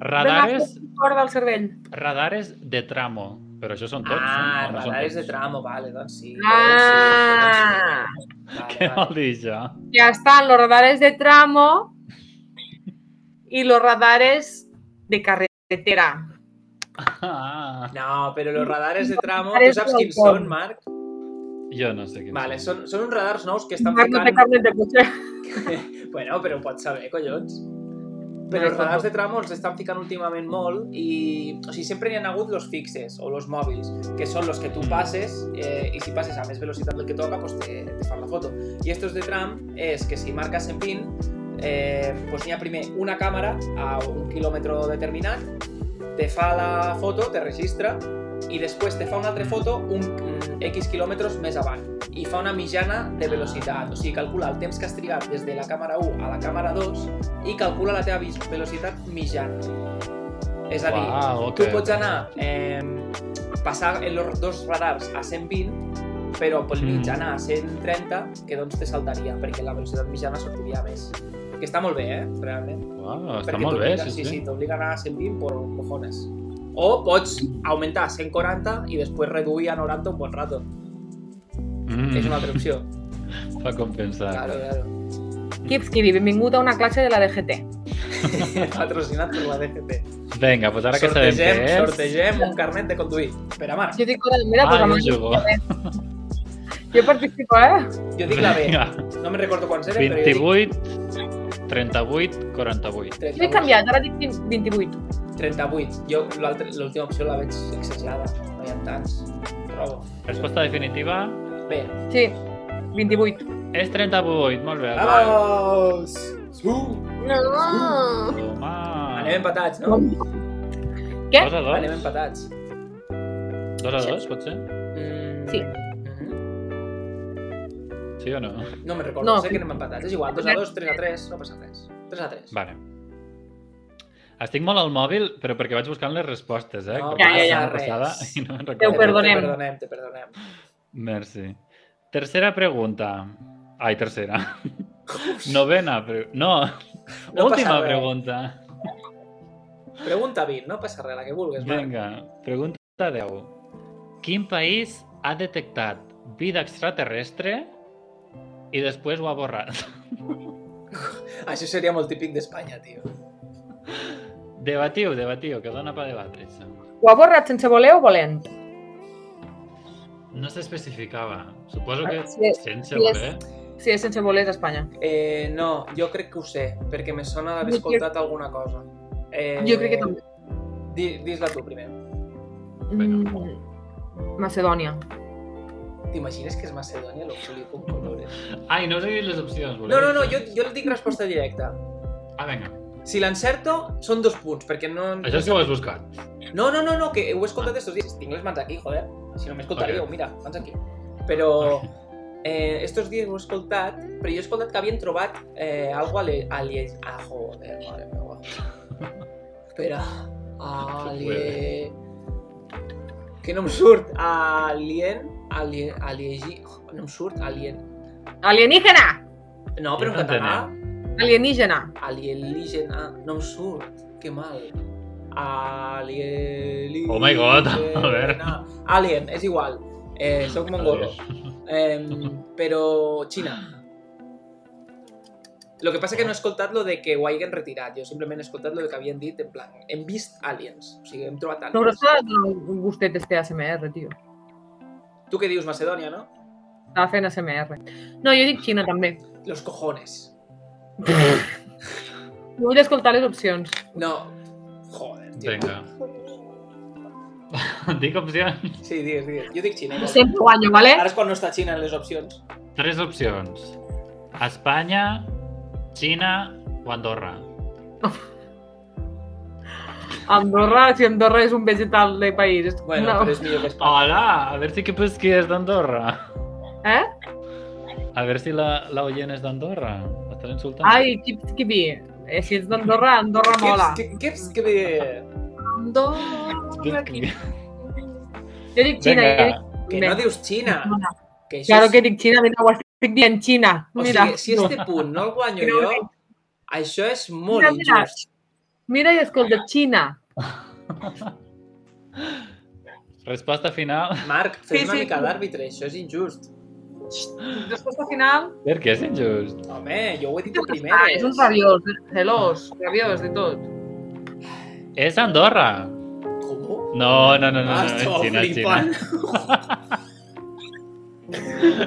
S3: Radares,
S5: fora del cervell.
S3: radares de tramo. Però això són tots. eh?
S1: Ah,
S3: no? No són
S1: radares de
S3: tots.
S1: tramo, vale, doncs sí.
S5: Ah.
S1: Doncs sí, doncs sí.
S3: Què
S1: Vale,
S3: vol
S1: vale.
S3: dir això?
S5: Ya están los radares de tramo y los radares de carretera.
S3: Ah,
S1: No, però els radares de tramo, tu
S5: Radares
S1: saps
S5: del
S1: quins
S5: pont.
S1: són, Marc?
S3: jo no sé què
S1: Vale, són, són uns radars nous que estan
S5: Marc no té
S1: ficant...
S5: carnet de cotxe.
S1: Bueno, però ho pots saber, collons. Però els radars de tramo els estan ficant últimament molt i... O sigui, sempre n'hi ha hagut los fixes o los mòbils, que són los que tu passes eh, i si passes a més velocitat del que toca, pues te, te fan la foto. I estos de tram és que si marques en 20, eh, pues n'hi ha primer una càmera a un quilòmetre determinat, te fa la foto, te registra, i després te fa una altra foto un mm, X quilòmetres més avant i fa una mitjana de velocitat. O sigui, calcula el temps que has trigat des de la càmera 1 a la càmera 2 i calcula la teva vis- velocitat mitjana. És a dir,
S3: Uau,
S1: tu
S3: ok.
S1: pots anar eh, passar en los dos radars a 120 però pel mig
S3: Mm.
S1: anar a 130 que doncs te saltaria perquè la velocitat mitjana sortiria més que està molt bé, eh, realment
S3: Uau, està
S1: perquè
S3: molt bé,
S1: t'obliga-
S3: sí, sí.
S1: sí, t'obliga a anar a 120 por cojones o pots augmentar a 140 i després reduir a 90 un bon rato.
S3: Mm,
S1: És una altra opció.
S3: Fa compensar.
S1: Claro, claro.
S5: Kipskiri, benvingut a una classe de la DGT.
S1: Patrocinat per la DGT.
S3: Vinga, doncs ara que sabem què
S1: sortegem,
S3: és...
S1: sortegem un carnet de conduir. Per a Marc.
S5: Jo dic, ara, mira, pues,
S3: Ah,
S5: a
S3: jo
S5: mi-
S3: jugo.
S5: jo participo, eh?
S1: Jo dic la B.
S3: Vinga,
S1: No me'n recordo quants eren, però jo dic
S3: 28, 38, 48.
S1: 38.
S5: Jo he canviat, ara dic 28.
S1: 38. Jo l'altra- l'última opció la veig exagerada. No hi ha tants. Trobo.
S3: Resposta definitiva
S1: Bé.
S5: Sí, 28.
S3: és 38. Molt bé.
S1: Vamos! Su!
S5: No.
S3: Home.
S1: Anem empatats, no?
S5: Què?
S3: Dos a dos?
S1: Anem empatats.
S3: Dos a dos, potser?
S1: Mm.
S5: Sí.
S1: Mhm.
S3: Sí o no?
S1: No me'n recordo,
S5: No.
S1: sé que anem empatats. És igual, 2 a 2, 3 a 3, no passa res. 3 a 3.
S3: Vale. Estic molt al mòbil, però perquè vaig buscant les respostes, eh?
S1: No,
S3: Perquè
S5: ja, ja,
S3: la
S5: ja,
S3: setmana
S1: res.
S3: passada I no
S5: Déu,
S3: me'n
S1: Te
S5: perdó.
S3: recordo.
S5: perdonem.
S1: Te perdonem, te perdonem.
S3: Merci. Tercera pregunta. Ai, tercera. Novena pregunta. No,
S1: No passa
S3: última
S1: res.
S3: pregunta.
S1: Pregunta 20, no passa res, la que vulguis. Marc.
S3: Vinga, pregunta 10. Quin país ha detectat vida extraterrestre i després ho ha borrat?
S1: Això seria molt típic d'Espanya, tio.
S3: Debatiu, debatiu, que dona per debatre. això.
S5: Ho ha borrat sense voler o volent?
S3: No s'especificava. Suposo que
S5: Ah, Sí, sí,
S3: sense voler.
S5: Si és sense voler, és Espanya.
S1: Eh, no, jo crec que ho sé, perquè me sona d'haver
S5: Jo
S1: escoltat alguna cosa. Eh,
S5: Jo crec que també.
S1: Di, Dis-la tu primer.
S3: Vinga.
S5: Mm, Macedònia.
S1: T'imagines que és Macedònia? Lo flipo amb colores.
S3: Ai, no us he dit les opcions. voleu?
S1: No, no, no, jo, jo li dic resposta directa.
S3: Ah, vinga.
S1: Si l'encerto, són dos punts, perquè no...
S3: Això sí que ho has buscat.
S1: No, no, no, no, que ho he escoltat estos dies. Tinc les mans aquí, joder. Si no m'escoltaríeu,
S3: Ok.
S1: mira, mans aquí. Però eh, estos dies ho he escoltat, però jo he escoltat que havien trobat eh, algo ale, alie... Ah, joder, mare meva. Espera. Alie... Que no em surt. Alien... Alien... Aliegi... No em surt. Alien...
S5: Alienígena!
S1: No, però en
S3: Ja t'entenem.
S1: català.
S5: Alienígena.
S1: Alienígena... No em surt. Que mal. Alien...
S3: Oh my God, Albert.
S1: Alien, és igual. Eh, soc mongol. Eh, però Xina. Lo que passa que no he escoltat lo de que ho hagin retirat. Jo simplement he escoltat lo de que havien dit, en plan, hem vist aliens. O sigui, hem trobat
S5: No hauràs
S1: aliens.
S5: donat un gustet este ASMR, tio.
S1: Tu què dius, Macedònia, no?
S5: Estava fent ASMR. No, jo dic Xina, també.
S1: Los cojones.
S5: Vull escoltar les opcions.
S1: No. Joder, tio.
S3: Vinga. Dic opcions.
S1: Sí, digues, digues. Jo dic Xina. igual.
S5: Sempre guanyo, vale?
S1: Ara és quan no està Xina en les opcions.
S3: Tres opcions. Espanya, Xina o Andorra.
S5: Andorra, si Andorra és un vegetal de país. és
S1: Bueno,
S5: una-
S1: però és millor que Espanya.
S3: Hola, a ver si que pesquies d'Andorra.
S5: Eh?
S3: A ver si la, la oient és d'Andorra. M'estàs insultant?
S5: Ai, Kipskibi. Eh, si ets d'Andorra, Andorra mola.
S1: Què, què, què, què,
S5: Andorra,
S3: Dic-
S2: Yo dic Xina.
S3: Vinga.
S2: jo dic-
S1: Que
S2: Bé.
S1: no dius Xina. Que això
S2: Claro
S1: és-
S2: que dic Xina, mira, ho estic dient Xina.
S1: O
S2: Mira,
S1: sigui, si este punt no el guanyo
S2: Mira,
S1: jo, això és molt
S2: mira, mira,
S1: injust.
S2: mira i escolta, Xina.
S3: Resposta final.
S1: Marc, fes
S2: Sí,
S1: una
S2: sí.
S1: mica d'àrbitre, això és injust.
S2: Resposta final,
S3: Per què és injust?
S1: Home, jo ho he dit de
S2: ah, és un
S1: primeres.
S2: rabiós, celós, rabiós de tot.
S3: És Andorra.
S1: Com?
S3: No, no, no, no.
S1: Ah,
S3: no. és
S1: estava
S3: Xina,
S1: flipant.
S3: Xina.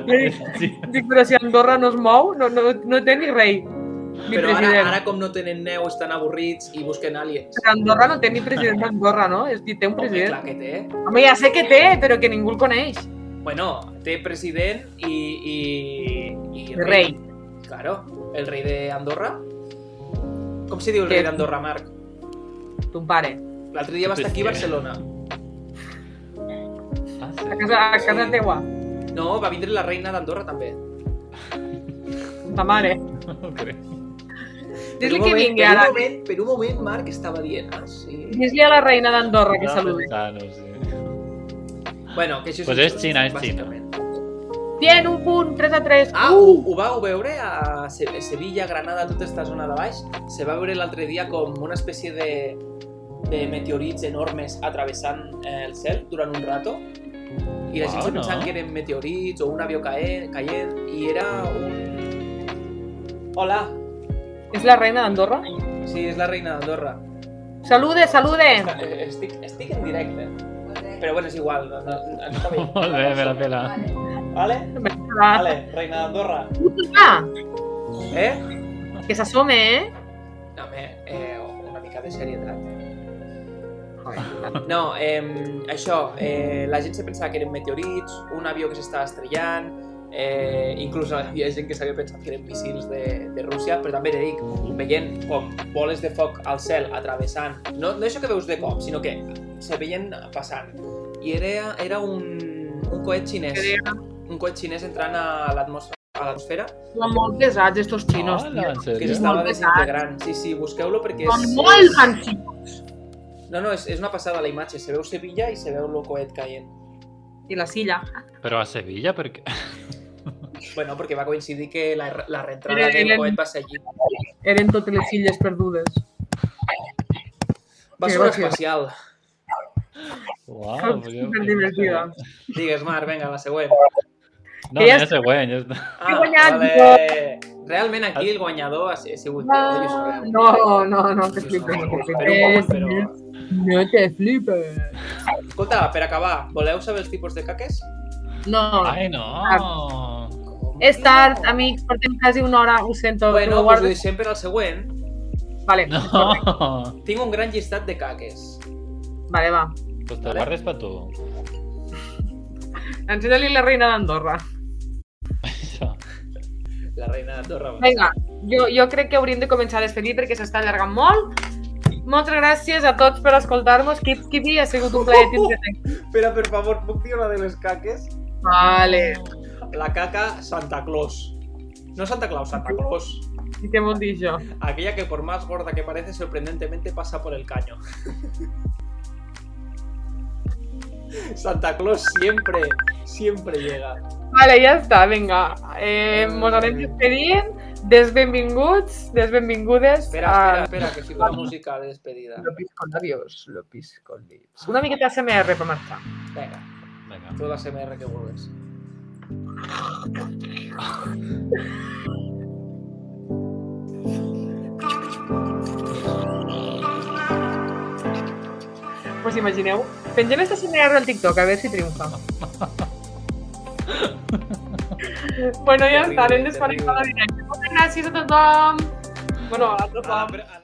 S3: Xina.
S2: Dic, però si Andorra no es mou, no, no, no té ni rei, ni
S1: Però ara,
S2: president.
S1: ara com no tenen neu, estan avorrits i busquen aliens.
S2: Però Andorra no té ni president d'Andorra, no? És dir, té un
S1: Home, eh? clar
S2: president.
S1: que té.
S2: Home, ja sé que té, però que ningú el coneix.
S1: Bueno, té president i... i, i
S2: El rei.
S1: Claro, el rei d'Andorra. Com se diu el rei
S2: Què?
S1: d'Andorra, Marc?
S2: Ton pare.
S1: L'altre dia va estar aquí a Barcelona.
S3: Ah,
S2: A
S3: sí.
S2: casa, a casa
S1: Sí.
S2: teua.
S1: No, va vindre la reina d'Andorra també.
S2: Ta mare.
S3: no ho crec.
S2: Dis-li
S1: Per un
S2: que
S1: moment-
S2: vingui
S1: per
S2: a
S1: un
S2: la...
S1: moment, per un moment, Marc estava dient, ah, sí.
S2: Dis-li a la reina d'Andorra que
S3: Estava
S2: salude.
S3: pensant, no ho sé.
S1: Bueno, que això és...
S3: Pues és
S1: injust,
S3: Xina, és Xina.
S1: bàsicament.
S2: Bien, un punt, 3 a Uh, 3.
S1: Ah, ho, ho vau veure a Se- Sevilla, Granada, tota aquesta zona de baix? Se va veure l'altre dia com una espècie de, de meteorits enormes atravessant eh, el cel durant un rato i la gent
S3: Uau,
S1: se pensava
S3: Ah, no?
S1: que eren meteorits o un avió caent, caient i era un... Hola,
S2: És la reina d'Andorra?
S1: sí, és la reina d'Andorra.
S2: Salude, salude!
S1: Està- eh, Estic, estic en directe, però bueno, és igual, no, no, no, està bé.
S3: Molt bé, me la pela.
S1: Vale?
S2: Va.
S1: Vale, reina d'Andorra.
S2: Ah,
S1: Eh?
S2: que s'assome, eh?
S1: No, home, eh, una mica de serietat. No, eh, això, eh, la gent se pensava que eren meteorits, un avió que s'estava estrellant, eh, inclús hi havia gent que s'havia pensat que eren missils de, de Rússia, però també te dic, veient com boles de foc al cel atravessant, no, no això que veus de cop, sinó que se veien passant. I era, era un, un coet xinès, un coet xinès entrant a l'atmosfera a l'atmosfera,
S2: Són molt pesats, estos xinos,
S3: Hola,
S2: tio.
S3: en
S1: que
S3: sèrio?
S1: s'estava
S2: Molt pesat.
S1: desintegrant. Sí, sí, busqueu-lo perquè és...
S2: Són molt antics.
S1: No, no, és, és una passada la imatge. Se veu Sevilla i se veu el coet caient.
S2: I la silla.
S3: Però a Sevilla, per què?
S1: Bueno, perquè va coincidir que la, la reentrada
S2: Era
S1: del
S2: el-
S1: coet va ser allí.
S2: Eren totes les illes perdudes.
S1: Va ser
S2: Sí,
S1: un
S2: va ser.
S1: especial.
S3: Uau, Ah, pues
S2: Són superdivertides.
S1: Digues, Marc, vinga, la següent.
S3: No,
S2: Que ja
S3: ja és següent, ja està.
S1: Ah,
S2: guanyat,
S1: vale. Realment aquí el guanyador ha, ha sigut jo, jo sabeu.
S2: Ah, No, no, no
S1: Jo
S2: te
S1: sabeu.
S2: flipes. no te
S1: Per un moment,
S2: flipes.
S1: però...
S2: No te flipes.
S1: Escolta, per acabar, voleu saber els tipus de caques?
S2: No.
S3: Ai, no!
S2: És tard, amics, portem quasi una hora, ho sento.
S1: Bueno,
S2: però
S1: us ho
S2: guardes-
S1: deixem per al següent.
S2: Vale,
S3: No!
S1: Tinc un gran llistat de caques.
S2: vale, va.
S3: Pues te guardes per tu.
S2: Ensenya-li la reina d'Andorra.
S3: Això.
S1: La reina d'Andorra. va.
S2: Vinga, jo, jo crec que hauríem de començar a despedir perquè s'està allargant molt. Moltes gràcies a tots per escoltar-nos. Kip Kipi, ha sigut un plaer tindre-te.
S1: Espera, per favor, puc dir una de les caques?
S2: Vale.
S1: La caca Santa Claus. No Santa Claus, Santa Claus.
S2: I què vol dir això?
S1: Aquella que por más gorda que parece, sorprendentemente pasa por el caño. Santa Claus siempre, siempre llega.
S2: Vale, ja està, vinga. Eh, mos anem despedint. Desbenvinguts, desbenvingudes.
S1: Espera, espera,
S2: a-
S1: espera, que fico la música de despedida.
S7: Lo pisco labios, lo pisco lips.
S2: Una miqueta ASMR per marxar.
S1: Venga,
S3: Vinga.
S1: tú la CMR que vuelves.
S2: Us Pues imagineu? Pengem este esta ASMR al TikTok, a veure si triomfa. bueno, ja està, anem desconnectant la directe. Moltes gràcies a tothom. Bueno, a tothom.
S1: A la pre- a la-